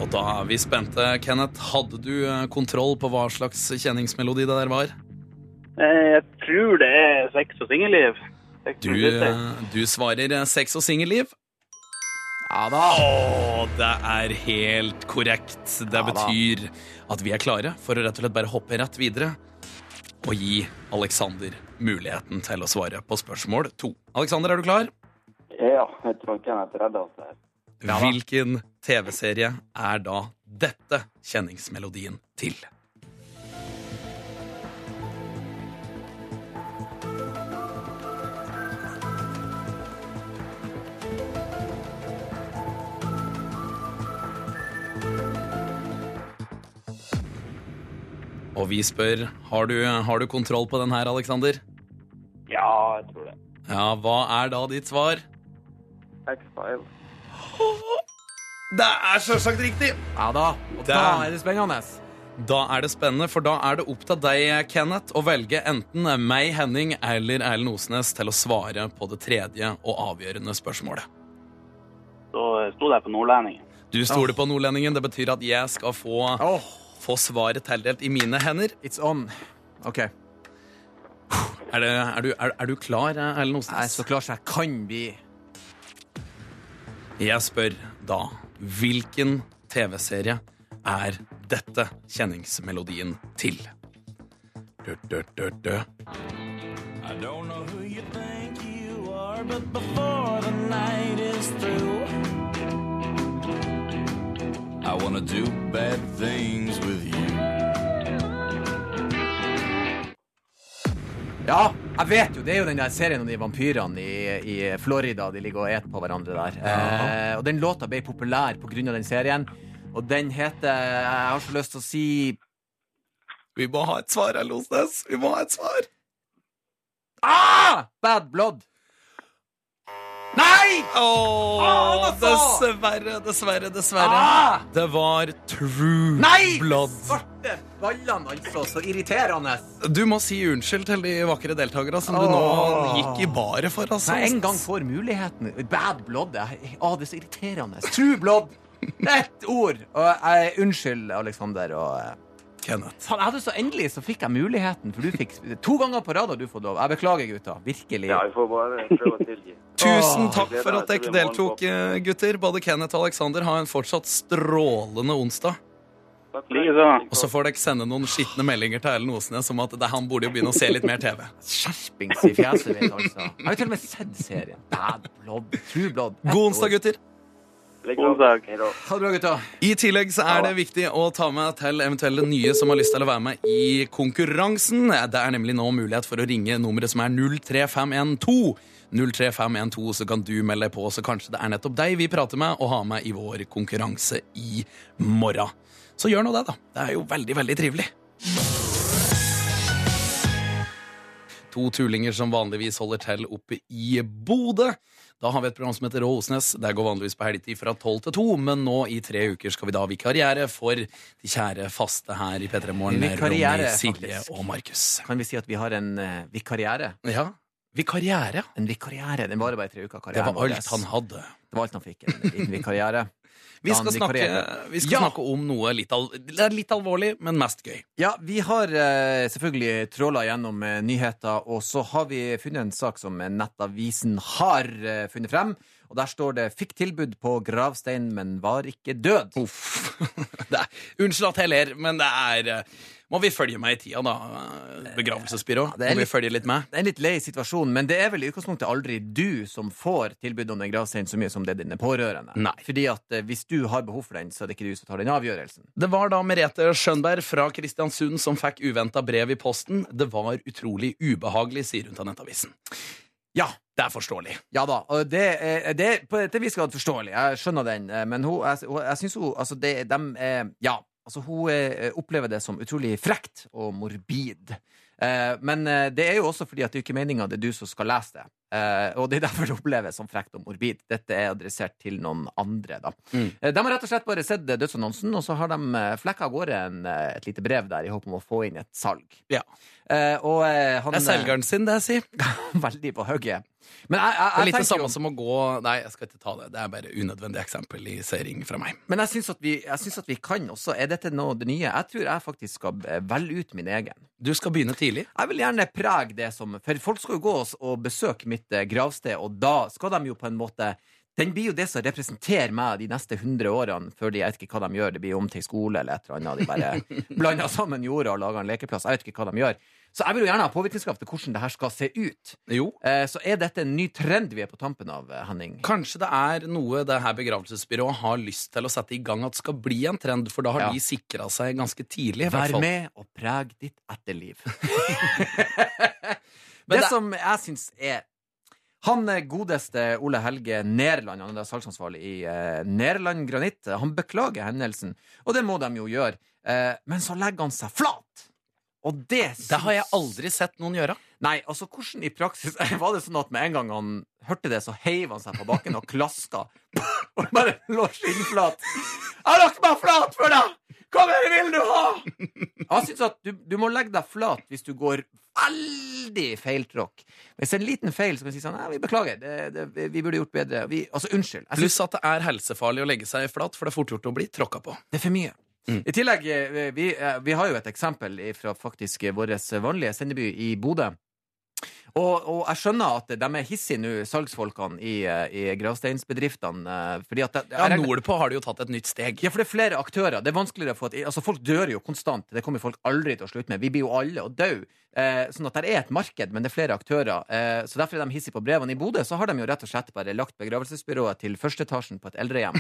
Og da er vi spente. Kenneth, hadde du eh, kontroll på hva slags kjenningsmelodi det der var? Eh, Jeg tror det er sex og singelliv. Sex Du, og singelliv. eh, du svarer eh, sex og singelliv. Ja da. Å, det er helt korrekt. Det da. betyr at vi er klare for å rett og slett bare hoppe rett videre og gi Alexander muligheten til å svare på spørsmål to. Alexander, er du klar? Ja, jeg tror Kenneth redder oss der. Ja da. Hvilken TV-serie er da dette kjenningsmelodien til? Og vi spør, har du, har du kontroll på den her, Alexander? Ja, jeg tror det. Ja, hva er da ditt svar? X-File. Det er selvsagt riktig! Ja da. Og da Der. er det spennende. Da er det spennende, for da er det opp til deg, Kenneth, å velge enten meg, Henning eller Erlend Osnes til å svare på det tredje og avgjørende spørsmålet. Så eh, sto det på Nordlendingen. Du stoler på nordlendingen. Det betyr at jeg skal få, Åh, få svaret tildelt i mine hender. it's on. OK. Jeg Er, det, er, du, er, er du klar, Erlend er Osnes? så klar som jeg kan bli. Jeg spør da hvilken TV-serie er dette kjenningsmelodien til? Dø, dø, dø, dø. Ja, jeg vet jo. Det er jo den der serien om de vampyrene i, i Florida. De ligger og eter på hverandre der. Eh, og den låta ble populær på grunn av den serien. Og den heter Jeg har så lyst til å si Vi må ha et svar, Erlend Osnes! Vi må ha et svar! ah! Bad Blood. Nei! Åh, Ah, det var så! dessverre, dessverre, dessverre. Ah! Det var True Nei! Blood. Svarte ballene, altså. Så irriterende. Du må si unnskyld til de vakre deltakerne som du nå Åh. gikk i baret for. Altså. Når jeg en gang får muligheten Bad Blood. Jeg, å, det er så irriterende. True Blood. Ett ord. Og jeg, unnskyld, Alexander. Og, eh, Kenneth. Faen, jeg hadde så endelig så fikk jeg muligheten, for du fikk to ganger på rad har du fått lov. Jeg beklager, gutta. Virkelig. Ja, vi får bare prøve å tilgi. Tusen Åh. takk for at dere deltok, eh, gutter. Både Kenneth og Alexander har en fortsatt strålende onsdag. Takk for Like så. Og så får dere sende noen skitne meldinger til Erlend Osnes om at det, han burde jo begynne å se litt mer TV. Skjerpings i fjeset mitt, altså. Jeg har jo til og med sett serien. Bad Blood. True Blood. Ett God onsdag, år. gutter. Like God så. dag. Hei da. Ha det bra, gutta. I tillegg så er det viktig å ta med til eventuelle nye som har lyst til å være med i konkurransen. Det er nemlig nå mulighet for å ringe nummeret som er 03512. 03512, så kan du melde deg på, så kanskje det er nettopp deg vi prater med og har med i vår konkurranse i morgen. Så gjør nå det, da. Det er jo veldig, veldig trivelig. To tullinger som vanligvis holder til oppe i Bodø. Da har vi et program som heter Rå Osnes. Der går vanligvis på helgetid fra 12 til 2, men nå i tre uker skal vi da ha vikariere for de kjære faste her i P3 Morgen. Ronny, Vikariere, Silje faktisk. og Markus. Kan vi si at vi har en eh, vikariere? Ja, vikariere. En vikariere. Den varer bare tre uker. Det karrieren var vår. alt han hadde. Det var alt han fikk. En liten vikariere. Vi Da skal han snakke, vikarierer. vi skal Ja. snakke om noe litt, al det er litt alvorlig, men mest gøy. Ja, vi har eh, selvfølgelig tråla gjennom eh, nyheter, og så har vi funnet en sak som Nettavisen har eh, funnet frem. Og der står det 'Fikk tilbud på gravstein, men var ikke død'. Uff. [LAUGHS] Det er, unnskyld at jeg ler, men det er eh, Må vi følge med i tida, da, eh, begravelsesbyrå? det er Må vi litt- følge litt med? Det er en litt lei situasjon, men det er vel i utgangspunktet aldri du som får tilbud om en gravstein så mye som det er dine pårørende. Nei. Fordi at eh, hvis du har behov for den, så er det ikke du som tar den avgjørelsen. Det var da Merete Skjønberg fra Kristiansund som fikk uventa brev i posten. Det var utrolig ubehagelig, sier hun til Nettavisen. Ja, det er forståelig. Ja da, og det er, det er på et vis grad forståelig. Jeg skjønner den, eh, men hun, jeg, hun- jeg syns hun Altså, det, dem eh, Ja. Altså, hun eh, opplever det som utrolig frekt og morbid. Eh, Men eh, det er jo også fordi at det er ikke meninga det er du som skal lese det. Eh, Og det er derfor det oppleves som frekt og morbid. Dette er adressert til noen andre, da. Mm. Eh, De har rett og slett bare sett eh, dødsannonsen, og så har de eh, flekka av gårde en, eh, et lite brev der i håp om å få inn et salg. Ja. Eh, Og eh, han eh, Det er selgeren sin, det, si. Det [LAUGHS] Veldig på hugget. Men jeg, jeg, er jeg litt det tenker jo- samme som å gå Nei, jeg skal ikke ta det. Det er bare unødvendig eksempelisering fra meg. Men jeg syns at, vi- jeg syns at vi kan også. Er dette noe det nye? Jeg tror jeg faktisk skal eh, velge ut min egen. Du skal begynne tidlig. Jeg vil gjerne prege det som For folk skal jo gå oss og besøke mitt eh, gravsted, og da skal de jo på en måte den blir jo det som representerer meg de neste 100 årene, før de jeg vet ikke hva de gjør. Det blir om til skole eller et eller annet. De bare blander sammen jorda og lager en lekeplass. Jeg vet ikke hva de gjør. Så jeg vil jo gjerne ha påvirkningskraft til hvordan det her skal se ut. Jo. Eh, Så er dette en ny trend vi er på tampen av, eh, Henning? Kanskje det er noe det her begravelsesbyrået har lyst til å sette i gang at skal bli en trend, for da har Ja. de sikra seg ganske tidlig. i hvert Vær fall. med og preg ditt [LAUGHS] etterliv. Men det det- som jeg syns er han eh, godeste Ole Helge Nærland, han er da salgsansvarlig i eh, Nærland Granitt, eh, han beklager hendelsen, og det må de jo gjøre, eh, men så legger han seg flat! Og det Det har jeg syns- aldri sett noen gjøre. Nei, altså hvordan i praksis [LAUGHS] Var det sånn at med en gang han hørte det, så heiv han seg på bakken og klaska? [LAUGHS] Og bare lå skinnflat. Jeg rakk meg flat for deg! Hva mer vil du ha?! Jeg syns at du, du må legge deg flat hvis du går veldig feiltråkk. Hvis det er en liten feil, så kan du si sånn Nei, vi beklager. Det, det, vi burde gjort bedre. Vi, altså, unnskyld. Jeg synes Pluss at det er helsefarlig å legge seg flat, for det er fort gjort å bli tråkka på. det er for mye. I tillegg, eh, vi, eh, vi har jo et eksempel fra faktisk vår vanlige sendeby i Bodø. Og, og jeg skjønner at de er hissige nå, salgsfolkene i, eh, i gravsteinsbedriftene. eh, Fordi at det, Ja, jeg regner- Nordpå har de jo tatt et nytt steg. ja, for det er flere aktører. Det er vanskeligere å få et, altså Folk dør jo konstant. Det kommer folk aldri til å slutte med. Vi blir jo alle å dø. Eh, sånn at det er et marked, men det er flere aktører. Eh, så Derfor er de hissige på brevene. I Bodø så har de jo rett og slett bare lagt begravelsesbyrået til førsteetasjen på et eldrehjem.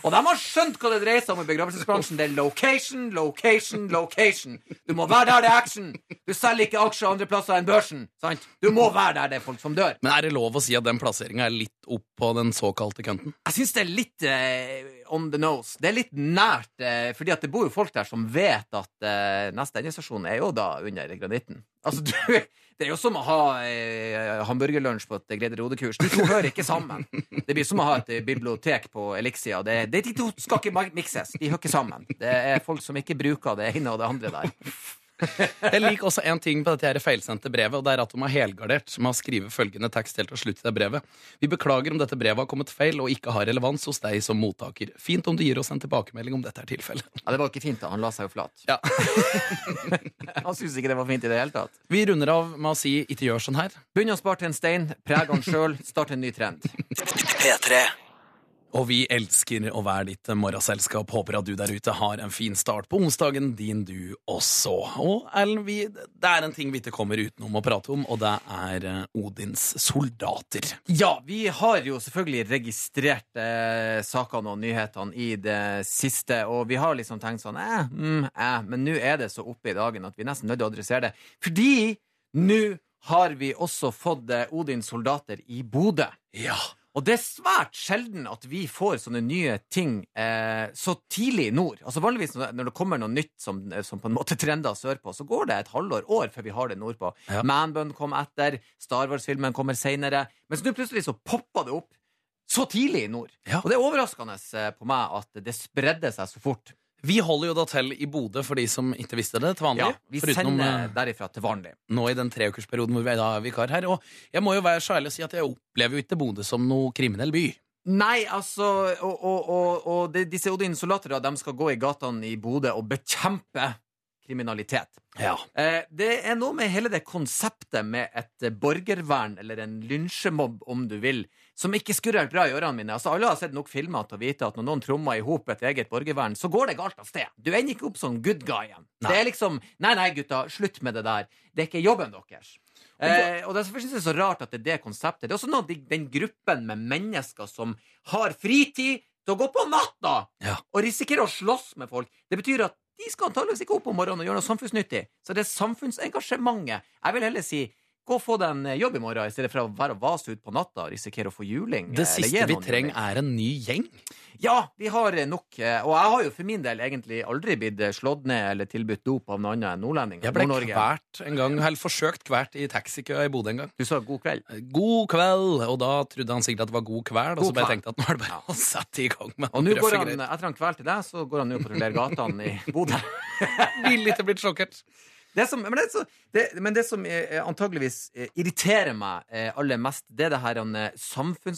Og de har skjønt hva det dreier seg om i begravelsesbransjen. Det er location, location, location. Du må være der det er action. Du selger ikke aksjer andre plasser enn børsen. sant? Du må være der det er folk som dør. Men er det lov å si at den plasseringa er litt opp på den såkalte kønten? Jeg syns det er litt eh, on the nose. Det er litt nært, eh, fordi at det bor jo folk der som vet at eh, neste endestasjon er jo da under granitten. Altså, du, [LAUGHS] det er jo som å ha eh, hamburgerlunsj på et Grederode-kurs. De to hører ikke sammen. Det blir som å ha et eh, bibliotek på Elixia. Det, det, de to skal ikke ma- mikses. De hører ikke sammen. Det er folk som ikke bruker det ene og det andre der. Jeg liker også en ting på dette her feilsendte brevet, og det er at de har helgardert med å skrive følgende tekst helt til slutt i det brevet. Vi beklager om dette brevet har kommet feil og ikke har relevans hos deg som mottaker. Fint om du gir oss en tilbakemelding om dette er tilfellet. Ja, Det var jo ikke fint, da. Han la seg jo flat. Ja. Han syntes ikke det var fint i det hele tatt. Vi runder av med å si ikke gjør sånn her. Begynn å spare til en stein, preg han sjøl, start en ny trend. P3. Og vi elsker å være ditt morgenselskap. Håper at du der ute har en fin start på onsdagen din, du også. Og Ellen, vi, det er en ting vi ikke kommer utenom å prate om, og det er eh, Odins soldater. Ja, vi har jo selvfølgelig registrert eh, sakene og nyhetene i det siste, og vi har liksom tenkt sånn eh, mm, eh, men nå er det så oppe i dagen at vi er nesten nødt til å adressere det. Fordi nå har vi også fått eh, Odins soldater i Bodø. Ja. Og det er svært sjelden at vi får sånne nye ting eh, så tidlig i nord. Altså Vanligvis når når det kommer noe nytt som, eh, som på en måte trender sørpå, så går det et halvår år før vi har det nordpå. Ja. Manbun kom etter, Star Wars-filmen kommer seinere. Mens nå plutselig så poppa det opp så tidlig i nord. Ja. Og det er overraskende eh, på meg at det spredde seg så fort. Vi holder jo da til i Bodø, for de som ikke visste det til vanlig. Ja, vi Foruten om, sender eh, derifra til vanlig. nå i den treukersperioden hvor vi da er vikar her. Og jeg må jo være så ærlig og si at jeg opplever jo ikke Bodø som noe kriminell by. Nei, altså Og, og, og, og de, disse Odin soldater, de skal gå i gatene i Bodø og bekjempe kriminalitet. Ja. Eh, det er noe med hele det konseptet med et eh, borgervern, eller en lynsjemobb, om du vil, som ikke skurrer helt bra i ørene mine. Altså, alle har sett nok filmer til å vite at når noen trommer i hop et eget borgervern, så går det galt av sted. Du ender ikke opp som good guy igjen. Det er liksom Nei, nei, gutta, slutt med det der. Det er ikke jobben deres. Eh, og Derfor synes jeg det er så rart at det er det konseptet. Det er også noe av de- den gruppen med mennesker som har fritid til å gå på natta Ja. og risikerer å slåss med folk. Det betyr at de skal antageligvis ikke opp om morgenen og gjøre noe samfunnsnyttig. Så det er samfunnsengasjementet. Jeg vil heller si gå og få deg en eh, jobb i morgen, i stedet for å være og vase ut på natta og risikere å få juling. Det eh, eller siste gi vi noen trenger, juling. er en ny gjeng. Ja, vi har eh, nok. eh, Og jeg har jo for min del egentlig aldri blitt eh, slått ned eller tilbudt dop av noe annet enn nordlendinger. Jeg ble Nord-Norge. kvært en gang, eller forsøkt kvært i taxikøa i Bodø en gang. Du sa god kveld. God kveld! Og da trodde han sikkert at det var god kveld, og så God bare kveld. tenkte jeg at nå er det bare å sette i gang med Og nå andre går han, greier. etter han kveld til deg, så går han nå og patruljerer gatene i [LAUGHS] Bodø. Ville ikke blitt sjokkert. Det som, men, det, så, det, men det som eh, antageligvis eh, irriterer meg eh, aller mest, det er det her eh,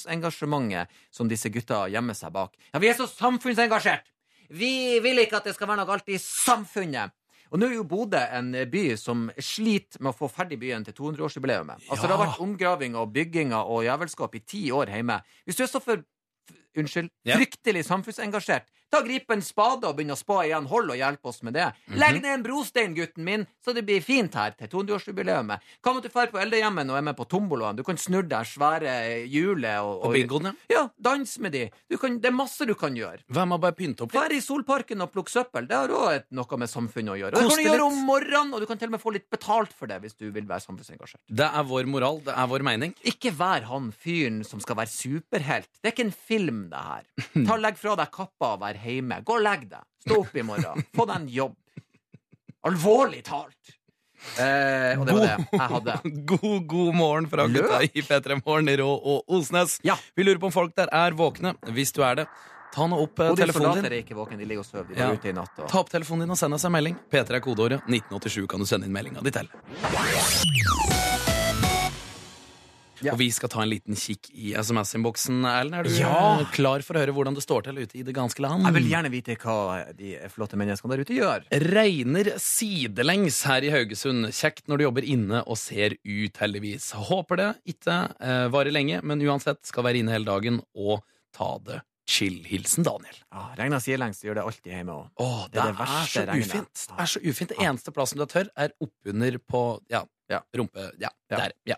samfunnsengasjementet som disse gutta gjemmer seg bak. Ja, vi er så samfunnsengasjert! Vi vil ikke at det skal være noe galt i samfunnet! Og nå er jo Bodø en eh, by som sliter med å få ferdig byen til 200-årsjubileet. Altså, Det har Ja. vært omgraving og bygginger og jævelskap i ti år hjemme. Hvis du er så for Unnskyld. Ja. Fryktelig samfunnsengasjert. Da griper en spade og begynner å spa igjen. Hold og hjelp oss med det. Legg ned en brostein, gutten min, så det blir fint her til 200-årsjubileet. Hva om at du drar på Eldehjemmen og er med på tombolaen? Du kan snurre deg svære hjulet og, Og bingoen, Ja, ja. dans med de. Du kan, det er masse du kan gjøre. Hvem har bare pynta opp litt? Vær i solparken og plukk søppel. Det har òg noe med samfunnet å gjøre. Og Kos det kan du deg gjøre litt. om morgenen, og du kan til og med få litt betalt for det hvis du vil være samfunnsengasjert. Det er vår moral, det er vår mening. [LAUGHS] Ikke vær han fyren som skal være superhelt. Det er ikke en film, det her. Ta og Legg fra deg kappa og vær hjemme. Gå og legg deg. Stå opp i morgen. Få deg en jobb. Alvorlig talt. Eh, og det var det jeg hadde. God, god morgen fra Løk. gutta i P3 Morgen, Rå og Osnes. Ja. Vi lurer på om folk der er våkne. Hvis du er det, ta nå opp eh, Og de telefonen soldater din. er ikke våkne. De ligger og sover. De Ja. var ute i natt. Og... Ta opp telefonen din og send oss en melding. P3 er kodeåret. 1987 kan du sende inn meldinga di til. Ja. Og vi skal ta en liten kikk i SMS-innboksen, Erlend. Er du Ja. eh, klar for å høre hvordan det står til ute i det ganske land? Jeg vil gjerne vite hva de flotte menneskene der ute gjør. Regner sidelengs her i Haugesund. Kjekt når du jobber inne og ser ut, heldigvis. Håper det ikke eh, varer lenge, men uansett skal være inne hele dagen og ta det chill. Hilsen Daniel. Ah, Regna sidelengs de gjør det alltid hjemme òg. Å, det, Det er er, det verste så regnet. ufint. Det er så ufint. Det eneste plassen du er tørr, er oppunder på ja, Ja. rumpe... Ja, Ja. der. Ja.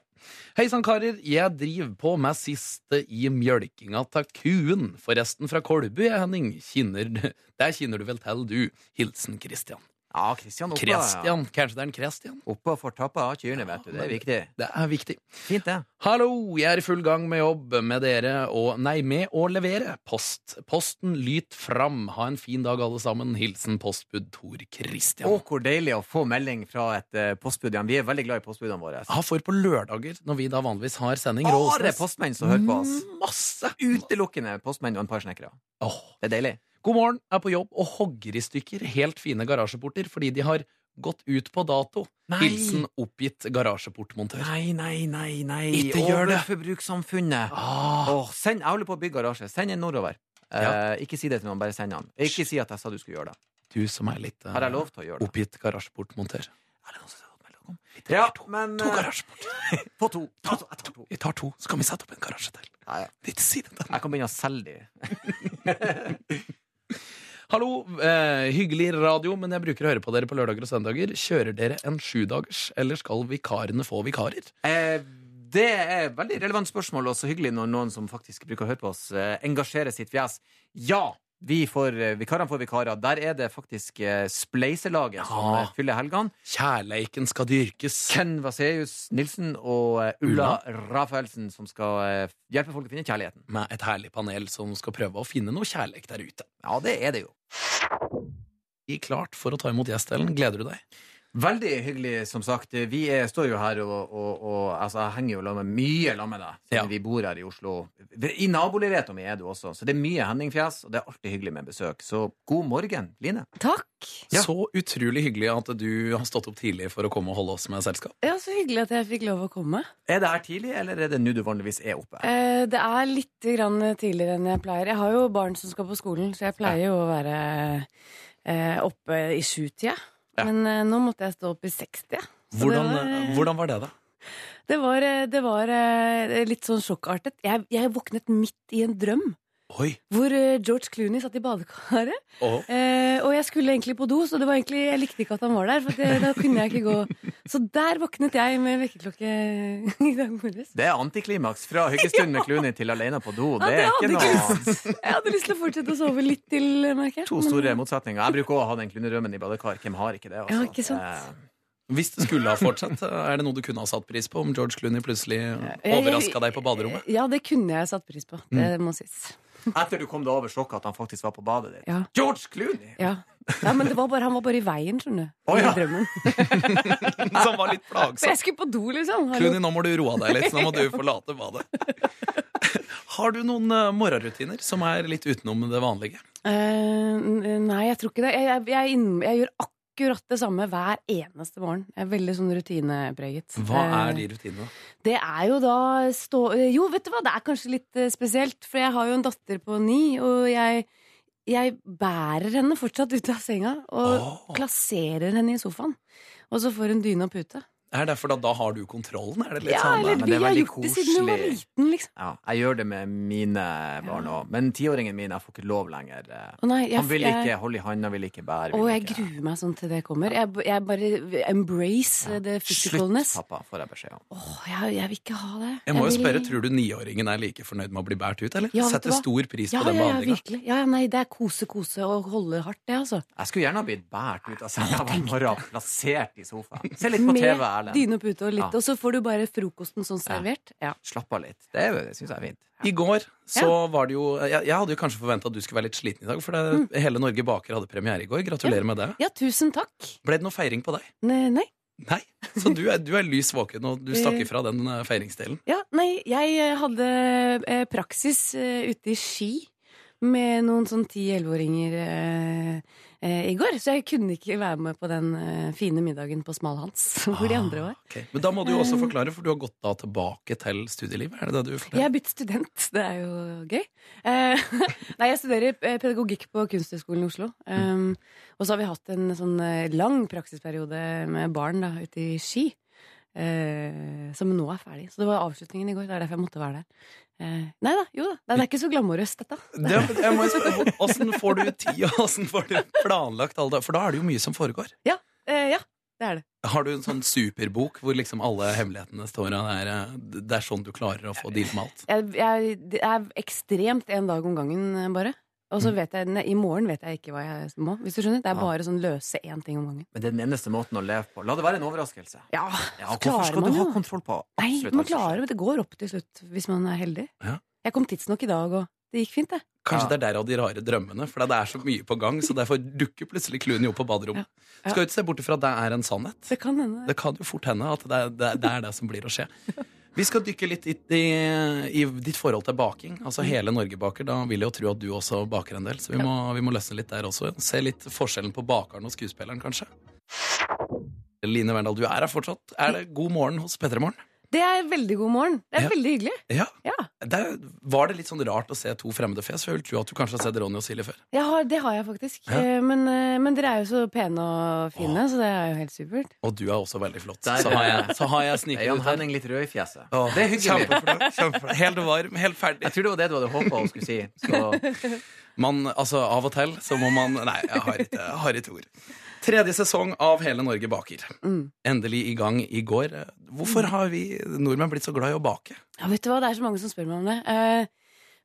Hei sann, karer. Jeg driver på med siste i mjølkinga ta kuen. Forresten fra Kolbu, jeg, Henning. Kinner, der kinner du vel til, du. Hilsen Christian. Ja, Kristian oppe, ja. Christian. Kanskje det er en Christian? oppe og får tappa av kyrne, vet du. Det er viktig. Det er viktig. Fint, det. Hallo, jeg er i full gang med jobb med dere og Nei, med å levere post. Posten lyt fram. Ha en fin dag, alle sammen. Hilsen postbud Tor Christian. Å, hvor deilig å få melding fra et eh, postbud igjen. Vi er veldig glad i postbudene våre. Ja, for på lørdager, når vi da vanligvis har sending Bare postmenn som hører på oss. Masse! Utelukkende postmenn og et par snekkere. Åh. Det er deilig. God morgen, er på jobb og hogger i stykker helt fine garasjeporter fordi de har gått ut på dato. Nei. Hilsen oppgitt garasjeportmontør. Nei, nei, nei, nei. Ikke gjør det. Overforbrukssamfunnet. Ah. Åh, send, jeg holder på å bygge garasje. Send en nordover. Eh, Ja. ikke si det til noen, bare send han. Ikke si at jeg sa du skulle gjøre det. Du som er litt eh, Har jeg lov til å gjøre det? oppgitt garasjeportmontør. Er det noen som har fått melding om? Ja, to. men To eh, garasjeporter. På to. Ta to. Jeg tar to. Vi tar to, så kan vi sette opp en garasje til. Ja, ja. Ikke si det til Jeg kan begynne å selge de. Hallo, eh, hyggelig radio, men jeg bruker å høre på dere på lørdager og søndager. Kjører dere en sjudagers, eller skal vikarene få vikarer? Eh, det er et veldig relevant spørsmål, og så hyggelig når noen som faktisk bruker å høre på oss, eh, engasjerer sitt fjes. Ja! Vi får, eh, vikarene får vikarer. Der er det faktisk eh, spleiselaget som Ja. eh, fyller helgene. Kjærleiken skal dyrkes. Ken Vaseus Nilsen og eh, Ulla Rafaelsen som skal eh, hjelpe folk å finne kjærligheten. Med et herlig panel som skal prøve å finne noe kjærleik der ute. Ja, det er det jo. Vi er klart for å ta imot gjest, Ellen. Gleder du deg? Veldig hyggelig, som sagt. Vi er, står jo her, og, og, og altså, jeg henger jo la med mye la med deg, siden Ja. vi bor her i Oslo. I naboligheten min er du også, så det er mye Henning-fjes, og det er alltid hyggelig med besøk. Så god morgen, Line. Takk. Ja. Så utrolig hyggelig at du har stått opp tidlig for å komme og holde oss med selskap. Ja, Så hyggelig at jeg fikk lov å komme. Er det her tidlig, eller er det nå du vanligvis er oppe? Eh, det er litt grann tidligere enn jeg pleier. Jeg har jo barn som skal på skolen, så jeg pleier jo å være eh, oppe i sjutida. Ja. Men eh, nå måtte jeg stå opp i 60. ja. Så Hvordan, det var, eh, hvordan var det, da? Det var, eh, det var eh, litt sånn sjokkartet. Jeg, jeg våknet midt i en drøm. Oi. Hvor eh, George Clooney satt i badekaret. Å. Eh, og jeg skulle egentlig på do, så det var egentlig, jeg likte ikke at han var der. For det, da kunne jeg ikke gå Så der våknet jeg med vekkerklokke i dag morges. Det er antiklimaks fra hyggestund [LAUGHS] med Clooney til alene på do. Det er Ja, ikke det hadde ikke noe Jeg hadde lyst til å fortsette å sove litt til, merker jeg. To Men- store motsetninger. Jeg bruker også å ha den Clooney-drømmen i badekar. Hvem har ikke det? Altså? Ja, ikke sant? Eh, Hvis det skulle ha fortsatt, er det noe du kunne ha satt pris på om George Clooney plutselig overraska deg på baderommet? [LAUGHS] Eh, Mm. Ja, det kunne jeg satt pris på. Det må sies. Etter du kom deg over sjokket at han faktisk var på badet ditt. Ja. George Clooney! Ja. ja, men det var bare, han var bare i veien, skjønner du. Å, ja. I drømmen. Som var litt Så plagsom. jeg skulle på do, liksom. Hallo. Clooney, nå må du roe deg litt. Nå må du forlate badet. Har du noen eh, morgenrutiner som er litt utenom det vanlige? Eh, n- nei, jeg tror ikke det. Jeg, jeg, jeg, er inn- jeg gjør akkurat det samme hver eneste morgen. Jeg er veldig sånn rutinepreget. Hva Eh, er de rutinene? Det er jo da stå... Jo, vet du hva, det er kanskje litt eh, spesielt, for jeg har jo en datter på ni, og jeg, jeg bærer henne fortsatt ut av senga og Åh. plasserer henne i sofaen. Og så får hun dyne og pute. Er det fordi da har du kontrollen? Er det litt Ja, sånn, men eller eh, det vi er har veldig gjort det siden hun var koselig. liten, liksom. Ja, jeg gjør det med mine barn òg. Men tiåringen min, jeg får ikke lov lenger. Eh, Å, nei, jeg, Han vil jeg- ikke holde i handa, vil ikke bære. Å, vil jeg ikke- gruer meg sånn til det kommer. Jeg, b- jeg bare embrace eh, the physicalness. Slutt, pappa, får jeg beskjed om. Åh, jeg, jeg vil ikke ha det. Jeg må jo vil- spørre, Tror du niåringen er like fornøyd med å bli båret ut? eller? Ja, vet du Setter hva? stor pris på ja, den ja, ja, behandlinga? virkelig. Ja, ja, nei, det er kose, kose og holde hardt, det, altså. Jeg skulle gjerne ha blitt båret ut av senga hver morgen, plassert i sofaen. Se litt på TV, Med Erlend. dyne og pute og litt, Ja. og så får du bare frokosten sånn servert. Ja. Slapp av litt. Det er- det syns jeg er fint. I går så var det jo Jeg, jeg hadde jo kanskje forventa at du skulle være litt sliten i dag, for det, Hele Norge Baker hadde premiere i går. Gratulerer med det. Mm. ja, tusen takk. Ble det noe feiring på deg? Nei, nei. Nei. Så du er, du er lys våken, og du stakk ifra den eh, feiringsdelen. Ja, nei, jeg eh, hadde eh, praksis eh, ute i Ski med noen sånn 10-11-åringer eh, eh, i går, så jeg kunne ikke være med på den eh, fine middagen på Smalhans, [LAUGHS] hvor de andre Eh. var. Ah, ok. Men da må du jo også forklare, for du har gått da tilbake til studielivet? Er det det du Jeg forteller? er blitt student, det er jo gøy. Eh, [LAUGHS] nei, jeg studerer eh, pedagogikk på Kunsthøgskolen i Oslo. Um, og så har vi hatt en sånn eh, lang praksisperiode med barn da, ute i Ski. eh, som nå er ferdig. Så det var avslutningen i går. Det er derfor jeg måtte være der. Eh, nei da, jo da. Nei, det er ikke så glamorøst, dette. Det, jeg må jo spørre, hvor- Åssen får du tid, og åssen får du planlagt alle det? For da er det jo mye som foregår. Eh, ja, det er det. Har du en sånn superbok hvor liksom alle hemmelighetene står, og det er, eh, det er sånn du klarer å få deal med alt? Jeg, jeg, det er ekstremt en dag om gangen, eh, bare. Og så vet jeg, nei, I morgen vet jeg ikke hva jeg må. hvis du skjønner. Det er Mm. Ja. bare sånn løse én ting om gangen. Men det er den eneste måten å leve på. La det være en overraskelse. Ja, Ja, så hvorfor skal klarer du man ha jo. kontroll på Nei, absolutt alt man som skjer? klarer det. Det går opp til slutt, hvis man er heldig. Ja. Jeg kom tidsnok i dag, og det gikk fint, det. Kanskje Ja. det er derav de rare drømmene, for det er så mye på gang, så derfor dukker plutselig Clooney opp på baderommet. Ja. Skal jo ikke se bort ifra at det er en sannhet. Det kan hende. Det kan jo fort hende at det er det, er- det, er det som blir å skje. Vi skal dykke litt i, i, i ditt forhold til baking. Altså hele Norge baker. Da vil jeg jo tro at du også baker en del, så vi må, vi må løsne litt der også. Se litt forskjellen på bakeren og skuespilleren, kanskje. Line Verndal, du er her fortsatt. Er det god morgen hos P3 Morgen? Det er veldig god morgen. Det er Ja. veldig hyggelig. Ja. Ja. Det, var det litt sånn rart å se to fremmede fjes? For jeg vil tro at du kanskje har sett Ronny og Silje før. Jeg har, det har jeg faktisk. Ja. Eh, Men, eh, men dere er jo så pene og fine, så det er jo helt supert. Og du er også veldig flott. Der. Så har jeg, så har jeg Er sniket Jan ut her. Henning litt rød i fjeset? Åh, det er hyggelig. Kjempeflott. kjempeflott. Helt varm, helt ferdig. Jeg tror det var det du hadde håpa hun skulle si. [LAUGHS] Så Man, altså, av og til så må man Nei, jeg har ikke, jeg har ikke ord. Tredje sesong av Hele Norge baker. Mm. Endelig i gang i går. Hvorfor har vi nordmenn blitt så glad i å bake? Ja, vet du hva, det er så mange som spør meg om det. Eh,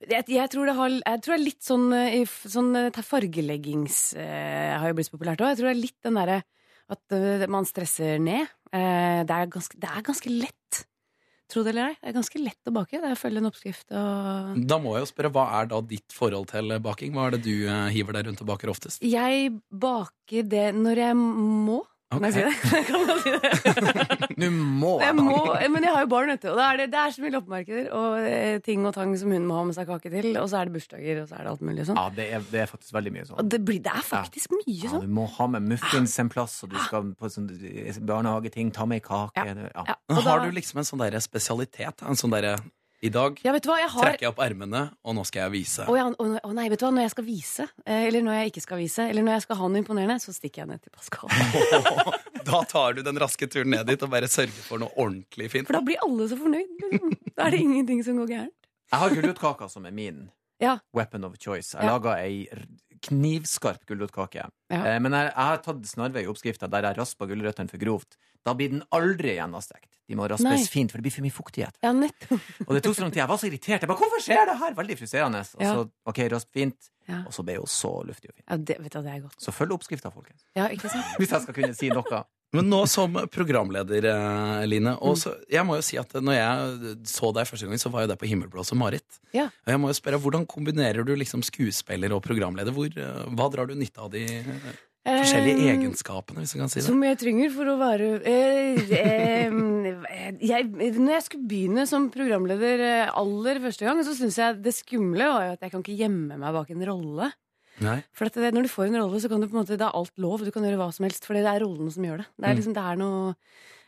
Jeg, jeg, tror, det har, jeg tror det er litt sånn, eh, i f- sånn eh, ta fargeleggings eh, har jo blitt så populært òg. Jeg tror det er litt den derre at eh, man stresser ned. Eh, det, er ganske, det er ganske lett. Tro det eller ei. Det er ganske lett å bake. Det er å følge en oppskrift og Da må jeg jo spørre, Hva er da ditt forhold til baking? Hva er det du eh, hiver deg rundt og baker oftest? Jeg baker det når jeg må. Kan jeg si det? [LAUGHS] Kan man si det? nå må Jeg jeg må, bake. men jeg har jo barn, vet du. Og da er det, det er så mye loppemarkeder og eh, ting og tang som hun må ha med seg kake til. Og så er det bursdager, og så er det alt mulig sånn. Ja, det er, det er faktisk veldig mye sånn. Og det, blir, det er faktisk mye Ja, sånn. du må ha med muffins en plass, og du skal på sånn barnehageting, ta med ei kake. det- Ja. Ah. Ja, Men og da, Har du liksom en sånn der spesialitet? En sånn der, I dag Ja, vet du hva, jeg har trekker jeg opp ermene, og nå skal jeg vise. Å ja, å ne- å nei, vet du hva, når jeg skal vise, eh, eller når jeg ikke skal vise, eller når jeg skal ha noe imponerende, så stikker jeg ned til Pascal. [LAUGHS] Da tar du den raske turen ned dit og bare sørger for noe ordentlig fint. For da blir alle så fornøyd. Liksom. Da er det ingenting som går gærent. Jeg har gulrotkaka som er min Ja. weapon of choice. Jeg Ja. laga ei r- knivskarp gulrotkake. Ja. Eh, Men jeg, jeg har tatt snarvei i oppskrifta der jeg raspa gulrøttene for grovt. Da blir den aldri gjennomstekt. De må raspes Nei. fint, for det blir for mye fuktighet. Ja, nettopp. Og det tok så lang tid. Jeg var så irritert. Jeg bare, Hvorfor skjer det her? Veldig frustrerende. Og Ja. så, ok, rasp fint. Ja. Og så ble hun så luftig og fin. Ja, det, vet du, hva, det er godt. Så følg oppskrifta, folkens. Ja, ikke sant? Hvis jeg skal kunne si noe. Men nå som programleder, eh, Line og så, Mm. Jeg må jo si at når jeg så deg første gang, så var jo det på Himmelblå som Marit. Ja. Og jeg må jo spørre, Hvordan kombinerer du liksom skuespiller og programleder? Hvor, eh, hva drar du nytte av de eh, forskjellige Eh, egenskapene, hvis du kan si det? Som jeg trenger for å være eh, eh, jeg, Når jeg skulle begynne som programleder eh, aller første gang, så syns jeg det skumle var jo at jeg kan ikke gjemme meg bak en rolle. Nei. For at det, når du får en rolle, så kan du på en måte, det er alt lov. Du kan gjøre hva som helst, for det er rollen som gjør det. det, er liksom, det er noe,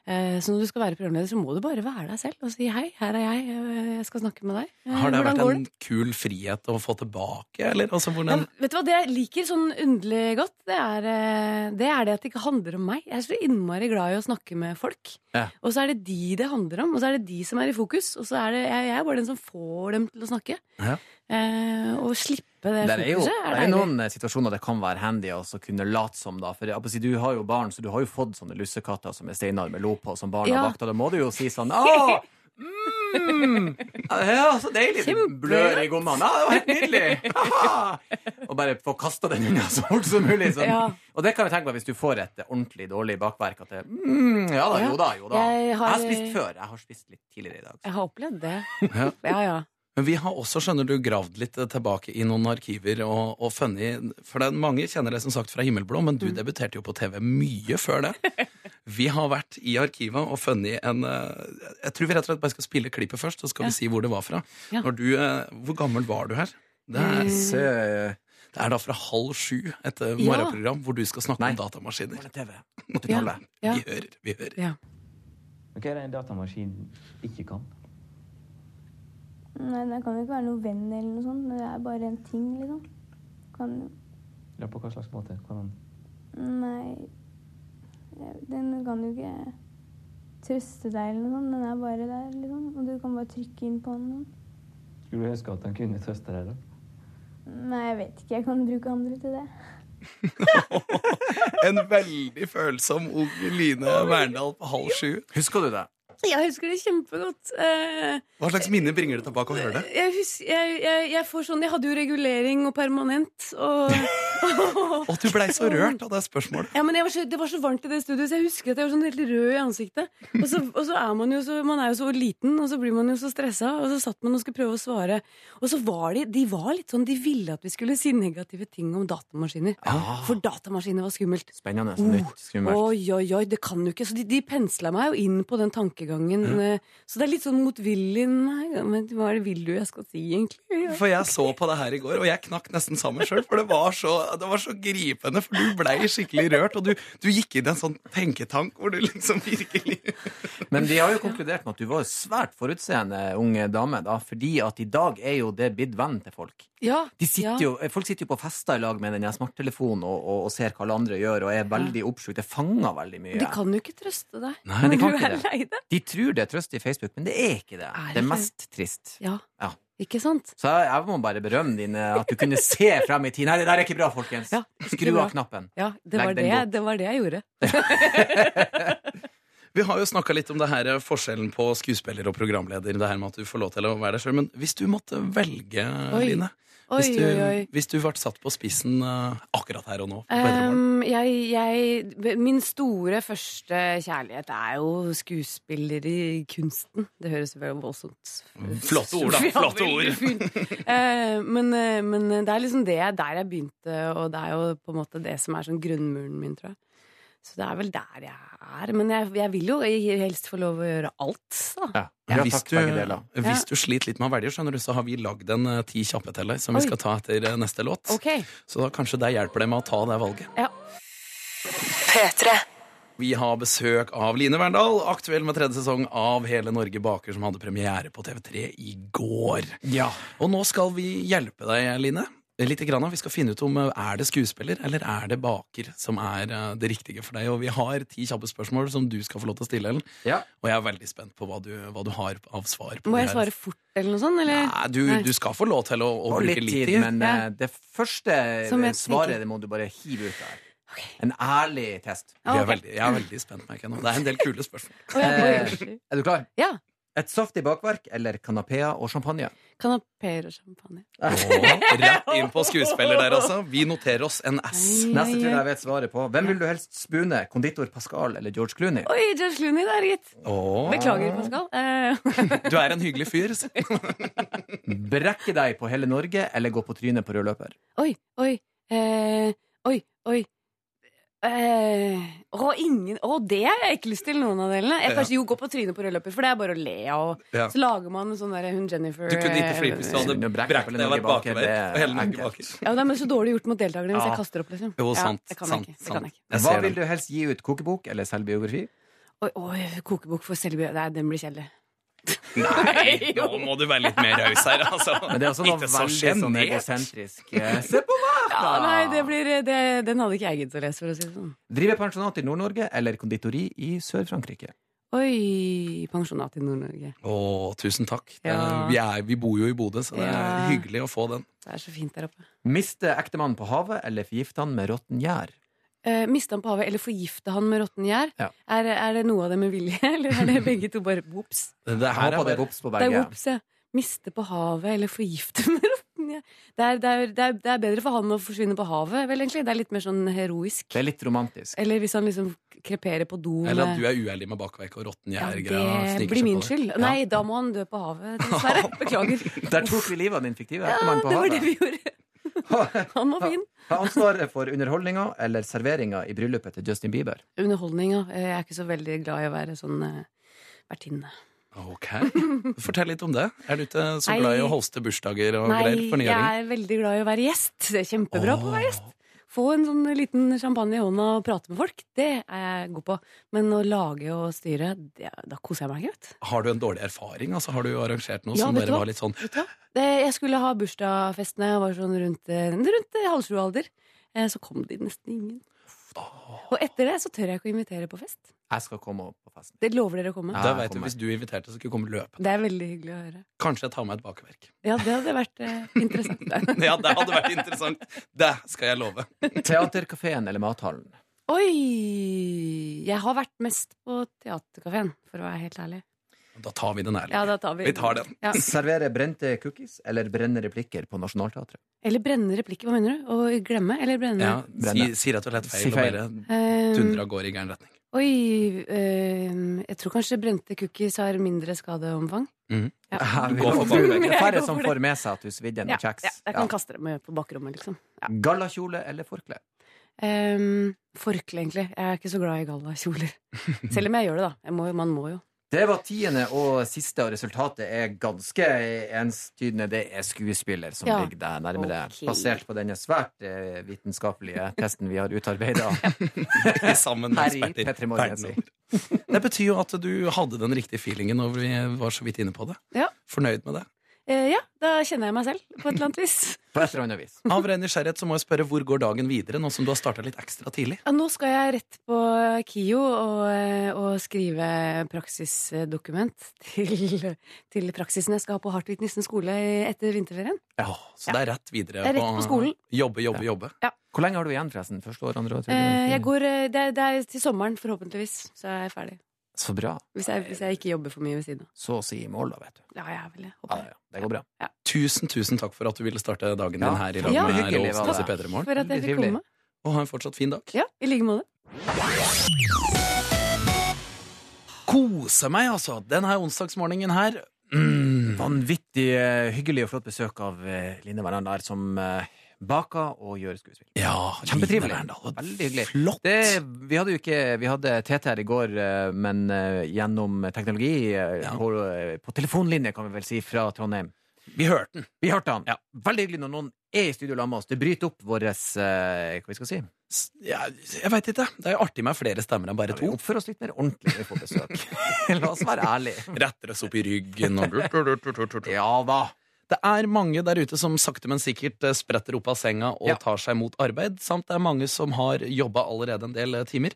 eh, så når du skal være programleder, så må du bare være deg selv og si hei, her er jeg, eh, jeg skal snakke med deg. Eh, Har det hvordan vært går en kul frihet å få tilbake, eller? Altså, hvordan, ja, vet du hva, Det jeg liker sånn underlig godt, det er, eh, det er det at det ikke handler om meg. Jeg er så innmari glad i å snakke med folk. Ja. Og så er det de det handler om, og så er det de som er i fokus. Og så er det, jeg, jeg er bare den som får dem til å snakke. Ja. Eh, og slippe det Det er jo fokuset er det er deilig. noen eh, situasjoner det kan være handy å også kunne late som, da. For jeg holdt på å si, du har jo barn, så du har jo fått sånne lussekatter som er steinar med lo på, som barna Ja. vakter. Da må du jo si [LAUGHS] sånn Å! Mm, ja, så deilig! Den Blør i gommene. Ja, det var helt nydelig! Haha! Og bare få kasta den unna så fort som mulig. Sånn. Ja. Og det kan vi tenke på hvis du får et eh, ordentlig dårlig bakverk. At det, mm, ja da, Ja. jo da, jo da. Jeg Jeg har- har spist før. Jeg har spist litt tidligere i dag. Jeg har opplevd det. Ja. Ja, ja. Men vi har også skjønner du, gravd litt eh, tilbake i noen arkiver og, og funnet For det er mange kjenner deg som sagt fra Himmelblå, men du Mm. debuterte jo på TV mye før [LAUGHS] det. Vi har vært i arkivet og funnet en eh, Jeg tror vi rett og slett bare skal spille klippet først, så skal vi si hvor det var fra. Ja. Eh. Når du, eh, hvor gammel var du her? Det er, Så- det er da fra halv sju, et eh, Ja. morgenprogram hvor du skal snakke Nei. om datamaskiner. TV. Ja. 80-tallet. Ja. [LAUGHS] Vi hører, vi hører. ja. Men hva er det en datamaskin ikke kan? Nei, det kan jo ikke være noen venn eller noe sånt. Det er bare en ting, liksom. Kan jo Ja, på hva slags måte? Hvordan? Nei jeg- Den kan jo ikke trøste deg eller noe sånt. Den er bare der, liksom. Og du kan bare trykke inn på den. sånn. Skulle du ønske at han kunne trøste deg, da? Nei, jeg vet ikke. Jeg kan bruke andre til det. En veldig følsom ung Line Verndal på halv sju. Husker du det? Jeg husker det kjempegodt. Eh, Hva slags minner bringer det tilbake å høre det? jeg, husker, jeg, jeg, jeg får sånn Jeg hadde jo regulering og permanent og [LAUGHS] Og du blei så rørt av det spørsmålet. [LAUGHS] Ja, men jeg var så, Det var så varmt i det studioet, så jeg husker at jeg var sånn helt rød i ansiktet. Og så, og så er man jo så, man er jo så liten, og så blir man jo så stressa. Og så satt man og skulle prøve å svare. Og så var de de var litt sånn, de ville at vi skulle si negative ting om datamaskiner. For datamaskiner var skummelt. Spennende. Oh. Nytt. Skummelt. Oi, oi, oi, det kan jo ikke. Så de, de pensla meg jo inn på den tankegangen. eh, Så det er litt sånn motvillig. Nei, men hva er det vil du jeg skal si, egentlig? Ja. For jeg så på det her i går, og jeg knakk nesten sammen sjøl. For det var, så, det var så gripende, for du blei skikkelig rørt. Og du, du gikk inn i en sånn tenketank hvor du liksom virkelig Men de har jo konkludert med at du var en svært forutseende ung dame, da, fordi at i dag er jo det blitt vennen til folk. Ja, De sitter ja. jo, eh, folk sitter jo på fester i lag med den her smarttelefonen og, og, og ser hva alle andre gjør, og er veldig oppslukt. Det fanger veldig mye. De kan jo ikke trøste deg. Nei, de kan du ikke er det. lei deg. De tror det er trøst i Facebook, men det er ikke det. Er det Det er ikke? mest trist. Ja. Ja. Ikke sant? Så jeg, jeg må bare berømme dine at du kunne se frem i tid. Nei, det der er ikke bra, folkens. Ja, Skru bra. av knappen. Ja, det Legg var den det, bort. det var det jeg gjorde. Vi har jo snakka litt om det her, eh, forskjellen på skuespiller og programleder. Det her med at du får lov til å være deg sjøl. Men hvis du måtte velge, Oi. Line Oi, Hvis du, oi, oi. hvis du ble satt på spissen eh, akkurat her og nå på Petremorgen. Um, jeg, jeg, min store første kjærlighet er jo skuespiller i kunsten. Det høres vel voldsomt Flotte ord, da. [LAUGHS] Ja, Flotte veldig ord. fint. Eh, men, eh, men det er liksom det der jeg begynte, og det er jo på en måte det som er sånn grunnmuren min, tror jeg. Så det er vel der jeg er. Men jeg, jeg vil jo helst få lov å gjøre alt, da. Ja, ja hvis, takk, du, begge deler. hvis du sliter litt med å velge, skjønner du, så har vi lagd en eh, ti kjappe til deg som Oi. vi skal ta etter eh, neste låt. Ok. Så da kanskje det hjelper deg med å ta det valget. Ja. P3. Vi har besøk av Line Verndal, aktuell med tredje sesong av Hele Norge baker, som hadde premiere på TV3 i går. Og nå skal vi hjelpe deg, Line. Litt grann, vi skal finne ut om eh, er det skuespiller eller er det baker som er eh, det riktige for deg. Og vi har ti kjappe spørsmål som du skal få lov til å stille, Ellen. Ja. Og jeg er veldig spent på hva du, hva du har av svar. på Må det jeg her. svare fort eller noe sånt? Eller? Nei, du, du skal få lov til å, å Og bruke litt tid, men Ja. eh, det første Som jeg tenker. svaret det må du bare hive ut der. En ærlig test. Ja, Vi er ok. veldig, jeg er veldig spent, merker jeg nå. Det er en del [LAUGHS] kule spørsmål. Å, ja, Eh, unnskyld. Er du klar? Ja. Et saftig bakverk eller kanapeer og champagne? Kanapeer og champagne. Og rett inn på skuespiller der, altså. Vi noterer oss en S. Oi, Neste oi, tror jeg oi. jeg vet svaret på. Hvem vil du helst spune? Konditor Pascal eller George Clooney? Oi, George Clooney der, gitt. Åh, Beklager, Pascal. Eh, [LAUGHS] du er en hyggelig fyr. s- Brekke deg på hele Norge eller gå på trynet på rød løper? oi, oi. Eh, oi, oi. Eh, å, ingen Å, det har jeg ikke lyst til, noen av delene. Jeg kanskje jo gå på trynet på rød løper, for det er bare å le av. Ja. Så lager man en sånn der hun Jennifer Du kunne ikke flirt eh, hvis du hadde Å brekt deg og vært baker, bakover. det Og hele Norge er baker. Ja, Det er så dårlig gjort mot deltakerne hvis Ja. jeg kaster opp, liksom. Jo, Ja, sant. det kan jeg sant, ikke. Det kan jeg sant. ikke. Jeg Hva ser vil den. du helst gi ut? Kokebok eller selvbiografi? Oi, oi, kokebok for selvbiografi. Nei, den blir kjedelig. [LAUGHS] [LAUGHS] Nei, nå må du være litt mer raus her, altså. [LAUGHS] Men det er også noe Ikke så veldig sånn sjenert. egosentrisk. Eh, Se på meg! Ja, da! nei, det blir, eh, det, Den hadde ikke jeg giddet å lese, for å si det sånn. Drive pensjonat i Nord-Norge eller konditori i Sør-Frankrike? Oi, pensjonat i Nord-Norge. Å, tusen takk. Det Ja. Er, vi, er, vi bor jo i Bodø, så det Ja. er hyggelig å få den. Det er så fint der oppe. Miste ektemannen på havet eller forgifte han med råtten gjær? Eh, miste han på havet, eller forgifte han med råtten gjær? Ja. Er, er det noe av det med vilje, [LAUGHS] eller er [LAUGHS] det begge to bare vops? Det Jeg her er håper det er bare, vops på Det er begge. vops, ja. Miste på havet, eller forgifte [LAUGHS] med råtten gjær. Det er, det, er, det, er, det er bedre for han å forsvinne på havet, vel, egentlig. Det er litt mer sånn heroisk. Det er litt romantisk. Eller hvis han liksom kreperer på do eller at med- du er uærlig med bakverk og råtten ja, gjær-greia. Det sniker blir seg min på deg. skyld. Ja. Nei, da må han dø på [LAUGHS] havet, dessverre. [LAUGHS] Beklager. Der tok vi livet av den fiktive Ja, ektemannen på det var det vi havet. gjorde. [LAUGHS] Han var fin. Ha ansvaret for underholdninga eller serveringa i bryllupet til Justin Bieber. Underholdning, ja. Eh, Jeg er ikke så veldig glad i å være sånn eh, vertinne. Ok, Fortell litt om det. Er du ikke så glad i å Nei. hoste bursdager og Nei, greier? jeg Fornøyring? er veldig glad i å være gjest. Det er kjempebra på å være gjest. Få en sånn liten champagne i hånda og prate med folk, det er jeg god på. Men å lage og styre, det, da koser jeg meg ikke, vet du. Har du en dårlig erfaring? Altså, har du arrangert noe Ja, som vet du dere hva? var litt sånn vet du hva? Det, jeg skulle ha bursdagsfest når jeg var sånn rundt, eh, rundt eh, halv sju-alder. Eh, Så kom det nesten ingen. Og etter det så tør jeg ikke å invitere på fest. Jeg skal komme opp på festen. Det lover dere å komme. Ja. Da vet du, kommer. Hvis du inviterte, så skulle jeg komme løpende. Det er veldig hyggelig å høre. Kanskje jeg tar meg et bakeverk. Ja, det hadde vært eh, interessant. [LAUGHS] Ja, Det hadde vært interessant. Det skal jeg love. Teaterkafeen eller mathallen? Oi! Jeg har vært mest på Theatercaféen, for å være helt ærlig. Da tar vi den Ja, ærlig. da tar vi, Vi tar den. Ja. Servere brente cookies eller brenne replikker på Nationaltheatret? Eller brenne replikker, hva mener du? Å glemme? Eller brenne? Ja, si, Brenne. si rett og slett feil, Si feil. og Eh, bare dundre av gårde i [LAUGHS] gæren retning. [LAUGHS] oi eh, Jeg tror kanskje brente cookies har mindre skadeomfang. Mhm. Ja. Jeg vil Gå tro for bakverk. det er Færre Jeg [LAUGHS] går som for får med seg at du svidde Ja, noen kjeks. ja, jeg kan kaste dem på bakrommet, liksom. Ja. Gallakjole eller forkle? Ehm, Forkle, egentlig. Jeg er ikke så glad i gallakjoler. Selv om jeg gjør det, da. Jeg må, jo- man må jo. Det var tiende og siste, og resultatet er ganske enstydende. Det er skuespiller som Ja. ligger deg nærmere, Ok. basert på denne svært eh, vitenskapelige testen vi har [LAUGHS] utarbeida. Vi er Sammen med Her i eksperter. P3 Morgen, verden jeg over. Det betyr jo at du hadde den riktige feelingen når vi var så vidt inne på det. Ja. Fornøyd med det. Eh, ja, da kjenner jeg meg selv, på et eller annet vis. På et eller annet vis. Av ren nysgjerrighet så må jeg spørre hvor går dagen videre, nå som du har starta litt ekstra tidlig? Ja, nå skal jeg rett på KIO og, eh, og skrive praksisdokument [LAUGHS] til, til praksisen jeg skal ha på Hartvig Nissen skole i- etter vinterferien. Ja, så det er rett videre. Det er rett på skolen. Jobbe, jobbe, jobbe. Hvor lenge har du igjen, forresten? Første år, andre år? tredje år, Eh, Jeg fjerde? går, eh, det, er, det er til sommeren, forhåpentligvis, så er jeg ferdig. Så bra. Hvis jeg, hvis jeg ikke jobber for mye ved siden av. Så å si i mål, da, vet du. Ja, jeg er vel det. Ja, Håper jeg. ja, det går bra. Tusen, tusen takk for at du ville starte dagen Ja, din her i lag ja. med Hyggelig, Råsnes i Vale. P3 Morgen. For at Veldig jeg fikk trivelig. komme. Og ha en fortsatt fin dag. Ja, I like måte. Kose meg, altså! Denne onsdagsmorgenen her. Mm. Vanvittig eh, hyggelig og flott besøk av eh, Line Verandar, som eh, baker og gjør skuespill. Ja, Kjempetrivelig. Line Verndal. Veldig hyggelig. Flott! Det, vi hadde jo ikke Vi hadde TT her i går, eh, men eh, gjennom teknologi eh, Ja. på, eh, på telefonlinje, kan vi vel si, fra Trondheim. Vi hørte den. Vi hørte han. Ja. Veldig hyggelig når noen er i studio sammen med oss. Det bryter opp vår eh, Hva vi skal si? S- ja, Jeg veit ikke. Det er jo artig med flere stemmer enn bare Vi to. oppfører oss litt mer ordentlig når vi får besøk. [LAUGHS] La oss være ærlige. [LAUGHS] Retter oss opp i [LAUGHS] ryggen og Ja da. Det er mange der ute som sakte, men sikkert eh, spretter opp av senga og Ja. tar seg mot arbeid, samt det er mange som har jobba allerede en del eh, timer.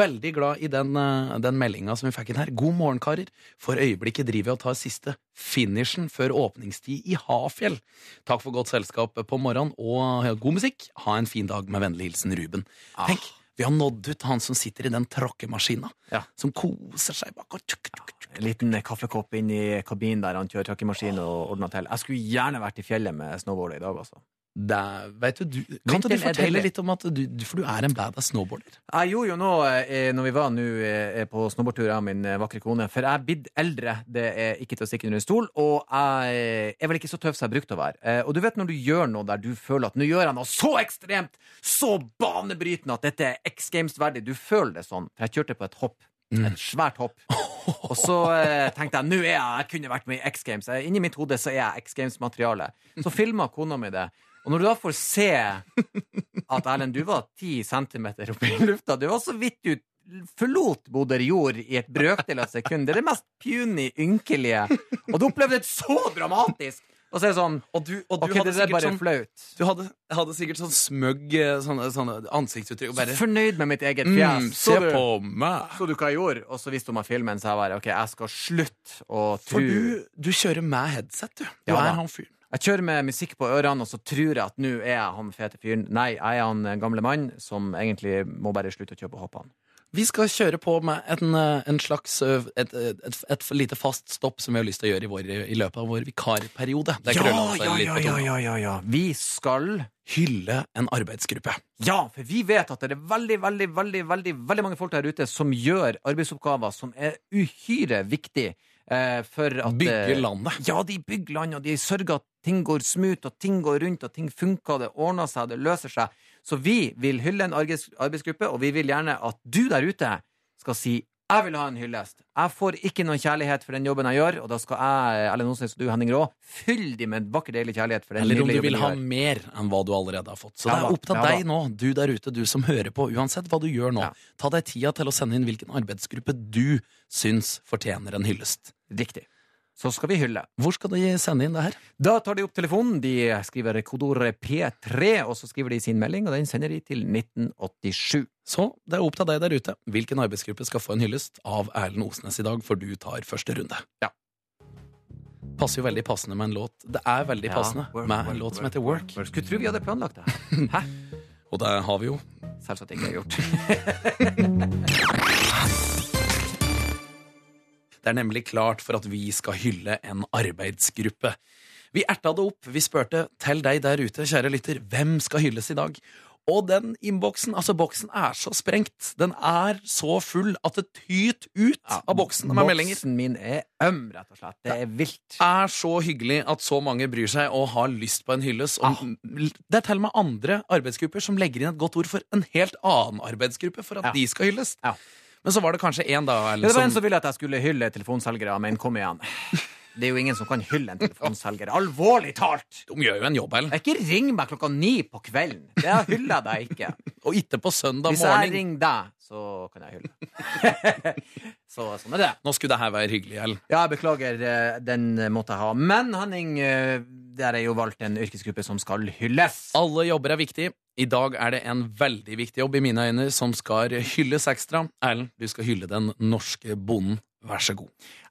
Veldig glad i den, eh, den meldinga som vi fikk inn her. God morgen, karer. For øyeblikket driver jeg og tar siste finishen før åpningstid i Hafjell. Takk for godt selskap på morgenen og eh, god musikk. Ha en fin dag med vennlig hilsen Ruben. Ah. Tenk, vi har nådd ut til han som sitter i den tråkkemaskina, Ja. som koser seg bak og tuk, tuk, tuk. En liten kaffekopp inn i kabinen der han kjører tråkkemaskinen og ordner til. Jeg skulle gjerne vært i fjellet med snowboardet i dag, altså. Det, vet du, du, kan ikke Vinteren du er fortelle deilig. litt om at du, du- For du er en badass snowboarder. Jeg gjorde jo nå, eh, når vi var nå eh, på snowboardtur, jeg og min eh, vakre kone, for jeg er blitt eldre, det er ikke til å stikke under en stol, og jeg eh, er vel ikke så tøff som jeg brukte å være. Eh, Og du vet når du gjør noe der du føler at nå gjør jeg noe så ekstremt, så banebrytende at dette er X Games-verdig, du føler det sånn. For jeg kjørte på et hopp. Et svært hopp. Og så eh, tenkte jeg nå er jeg, jeg kunne vært med i X Games. Eh, Inni mitt hode så er jeg X Games-materiale. Så filma kona mi det. Og når du da får se at Erlend, du var ti centimeter oppe i lufta. Det var så vidt du forlot Bodø jord i et brøkdel av et sekund. Det er det mest puny, ynkelige. Og du opplevde det så dramatisk! Og så er det sånn Og du, sånn og OK, det der er bare flaut. Du hadde, hadde sikkert sånn smøgg eh, sånne, sånne ansiktsuttrykk. Og Så bare fornøyd med mitt eget mm, fjes. Se du, på meg! så du hva jeg gjorde? Og så viste hun meg filmen, så jeg bare OK, jeg skal slutte å tro For du, du kjører med headset, du. Du Ja, da. er han fyren. Jeg kjører med musikk på ørene, og så tror jeg at nå er jeg han fete fyren. Nei, jeg er han eh, gamle mann som egentlig må bare slutte å kjøpe hoppene. Vi skal kjøre på med en, eh, en slags eh, et, et, et, et lite fast stopp som vi har lyst til å gjøre i, vår, i løpet av vår vikarperiode. Det er krøllet seg litt på tunga. ja, ja. Vi skal Hylle en arbeidsgruppe. Ja, for vi vet at det er veldig, veldig, veldig, veldig, veldig mange folk der ute som gjør arbeidsoppgaver som er uhyre viktig eh, for at Bygge eh, landet. Ja, de bygger land, og de sørger at ting går smooth, og ting går rundt, og ting funker, det ordner seg, det løser seg. Så vi vil hylle en arbeids- arbeidsgruppe, og vi vil gjerne at du der ute skal si jeg vil ha en hyllest. Jeg får ikke noen kjærlighet for den jobben jeg gjør, og da skal jeg, Ellen Osnes og du, Henning Rå, fylle de med en vakker, deilig kjærlighet for den Eller om lille du jobben vil jeg ha gjør. mer enn hva du allerede har fått. Så Ja det da, er opp til ja deg da. nå, du der ute, du som hører på, uansett hva du gjør nå. Ja. Ta deg tida til å sende inn hvilken arbeidsgruppe du syns fortjener en hyllest. Riktig. Så skal vi hylle. Hvor skal du sende inn det her? Da tar de opp telefonen, de skriver kodeordet P3, og så skriver de sin melding, og den sender de til 1987. Så det er opp til deg der ute. Hvilken arbeidsgruppe skal få en hyllest av Erlend Osnes i dag, for du tar første runde? Ja. Passer jo veldig passende med en låt. Det er veldig Ja, passende work, med work, en låt som work, heter Work. Skulle tro vi hadde planlagt det. her. Og det har vi jo. Selvsagt [LAUGHS] ikke gjort. Det er nemlig klart for at vi skal hylle en arbeidsgruppe. Vi erta det opp, vi spurte til deg der ute, kjære lytter, hvem skal hylles i dag? Og den innboksen, altså boksen, er så sprengt. Den er så full at det tyt ut av boksen med meldinger. Boksen min er øm, rett og slett. Det er vilt. er så hyggelig at så mange bryr seg og har lyst på en hyllest. Ah. Og Det er til og med andre arbeidsgrupper som legger inn et godt ord for en helt annen arbeidsgruppe for at Ja. de skal hylles. Ja. Men så var det kanskje én, da. Det Erlend, var en som- som ville at jeg skulle hylle telefonselgere, men kom igjen. Det er jo ingen som kan hylle en telefonselger. Alvorlig talt! De gjør jo en jobb, Erlend. Ikke ring meg klokka ni på kvelden. Det hyller jeg deg ikke. Og ikke på søndag Hvis jeg morgen. ringer deg, så kan jeg hylle. [LAUGHS] Så sånn er det. Nå skulle det her være hyggelig, Erlend. Ja, jeg beklager. eh, Den eh, måtte jeg ha. Men Henning, eh, der er jo valgt en yrkesgruppe som skal hylles. Alle jobber er viktige. I dag er det en veldig viktig jobb i mine øyne som skal hylles ekstra. Erlend, du skal hylle den norske bonden. Vær så god.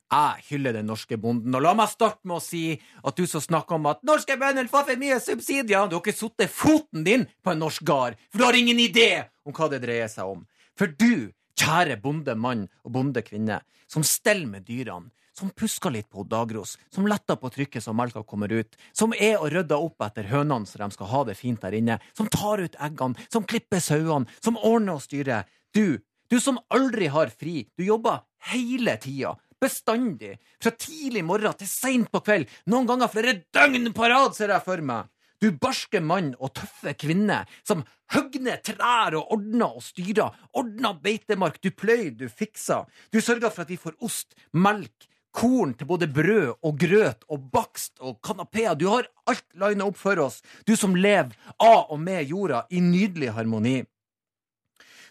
Jeg hyller den norske bonden. Og la meg starte med å si at du som snakker om at norske bønder får for mye subsidier, du har ikke satt foten din på en norsk gard, for du har ingen idé om hva det dreier seg om. For du, kjære bondemann og bondekvinne, som steller med dyrene, som pusker litt på dagros, som letter på trykket så melka kommer ut, som er og rydder opp etter hønene så de skal ha det fint der inne, som tar ut eggene, som klipper sauene, som ordner og styrer. Du, du som aldri har fri, du jobber hele tida. Bestandig. Fra tidlig morgen til seint på kveld. Noen ganger flere døgn på rad, ser jeg for meg. Du barske mann og tøffe kvinne som høgner trær og ordner og styrer. Ordner beitemark. Du pløyer, du fikser. Du sørger for at vi får ost, melk, korn til både brød og grøt og bakst og kanapeer. Du har alt lina opp for oss, du som lever av og med jorda i nydelig harmoni.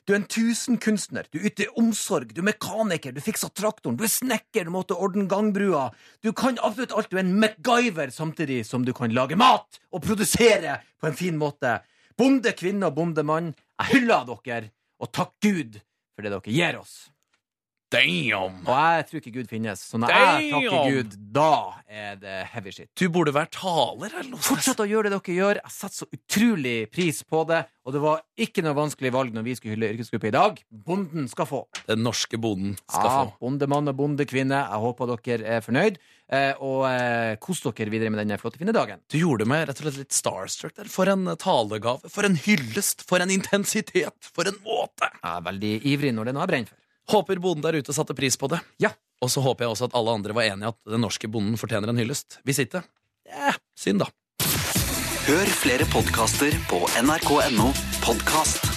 Du er en tusenkunstner, du yter omsorg, du er mekaniker, du fikser traktoren, du er snekker, du måtte ordne gangbrua. Du kan absolutt alt, du er en MacGyver samtidig som du kan lage mat og produsere på en fin måte. Bonde, kvinne og bondemann, jeg hyller dere, og takk Gud for det dere gir oss. Damn! Og jeg tror ikke Gud finnes, så når jeg takker Damn! Gud, da er det heavy shit. Du burde vært taler eller noe sånt. Fortsett å gjøre det dere gjør. Jeg setter så utrolig pris på det. Og det var ikke noe vanskelig valg når vi skulle hylle yrkesgruppe i dag. Bonden skal få. Den norske bonden skal ja, få. Bondemann og bondekvinne. Jeg håper dere er fornøyd. Eh, og eh, kos dere videre med denne flotte, fine dagen. Du gjorde meg rett og slett litt starstruck der. For en eh, talegave, for en hyllest, for en intensitet, for en måte! Jeg er veldig ivrig når det er noe jeg brenner for. Håper bonden der ute satte pris på det. Ja. Og så håper jeg også at alle andre var enige i at den norske bonden fortjener en hyllest. Hvis ikke, eh, synd, da. Hør flere podkaster på nrk.no podkast.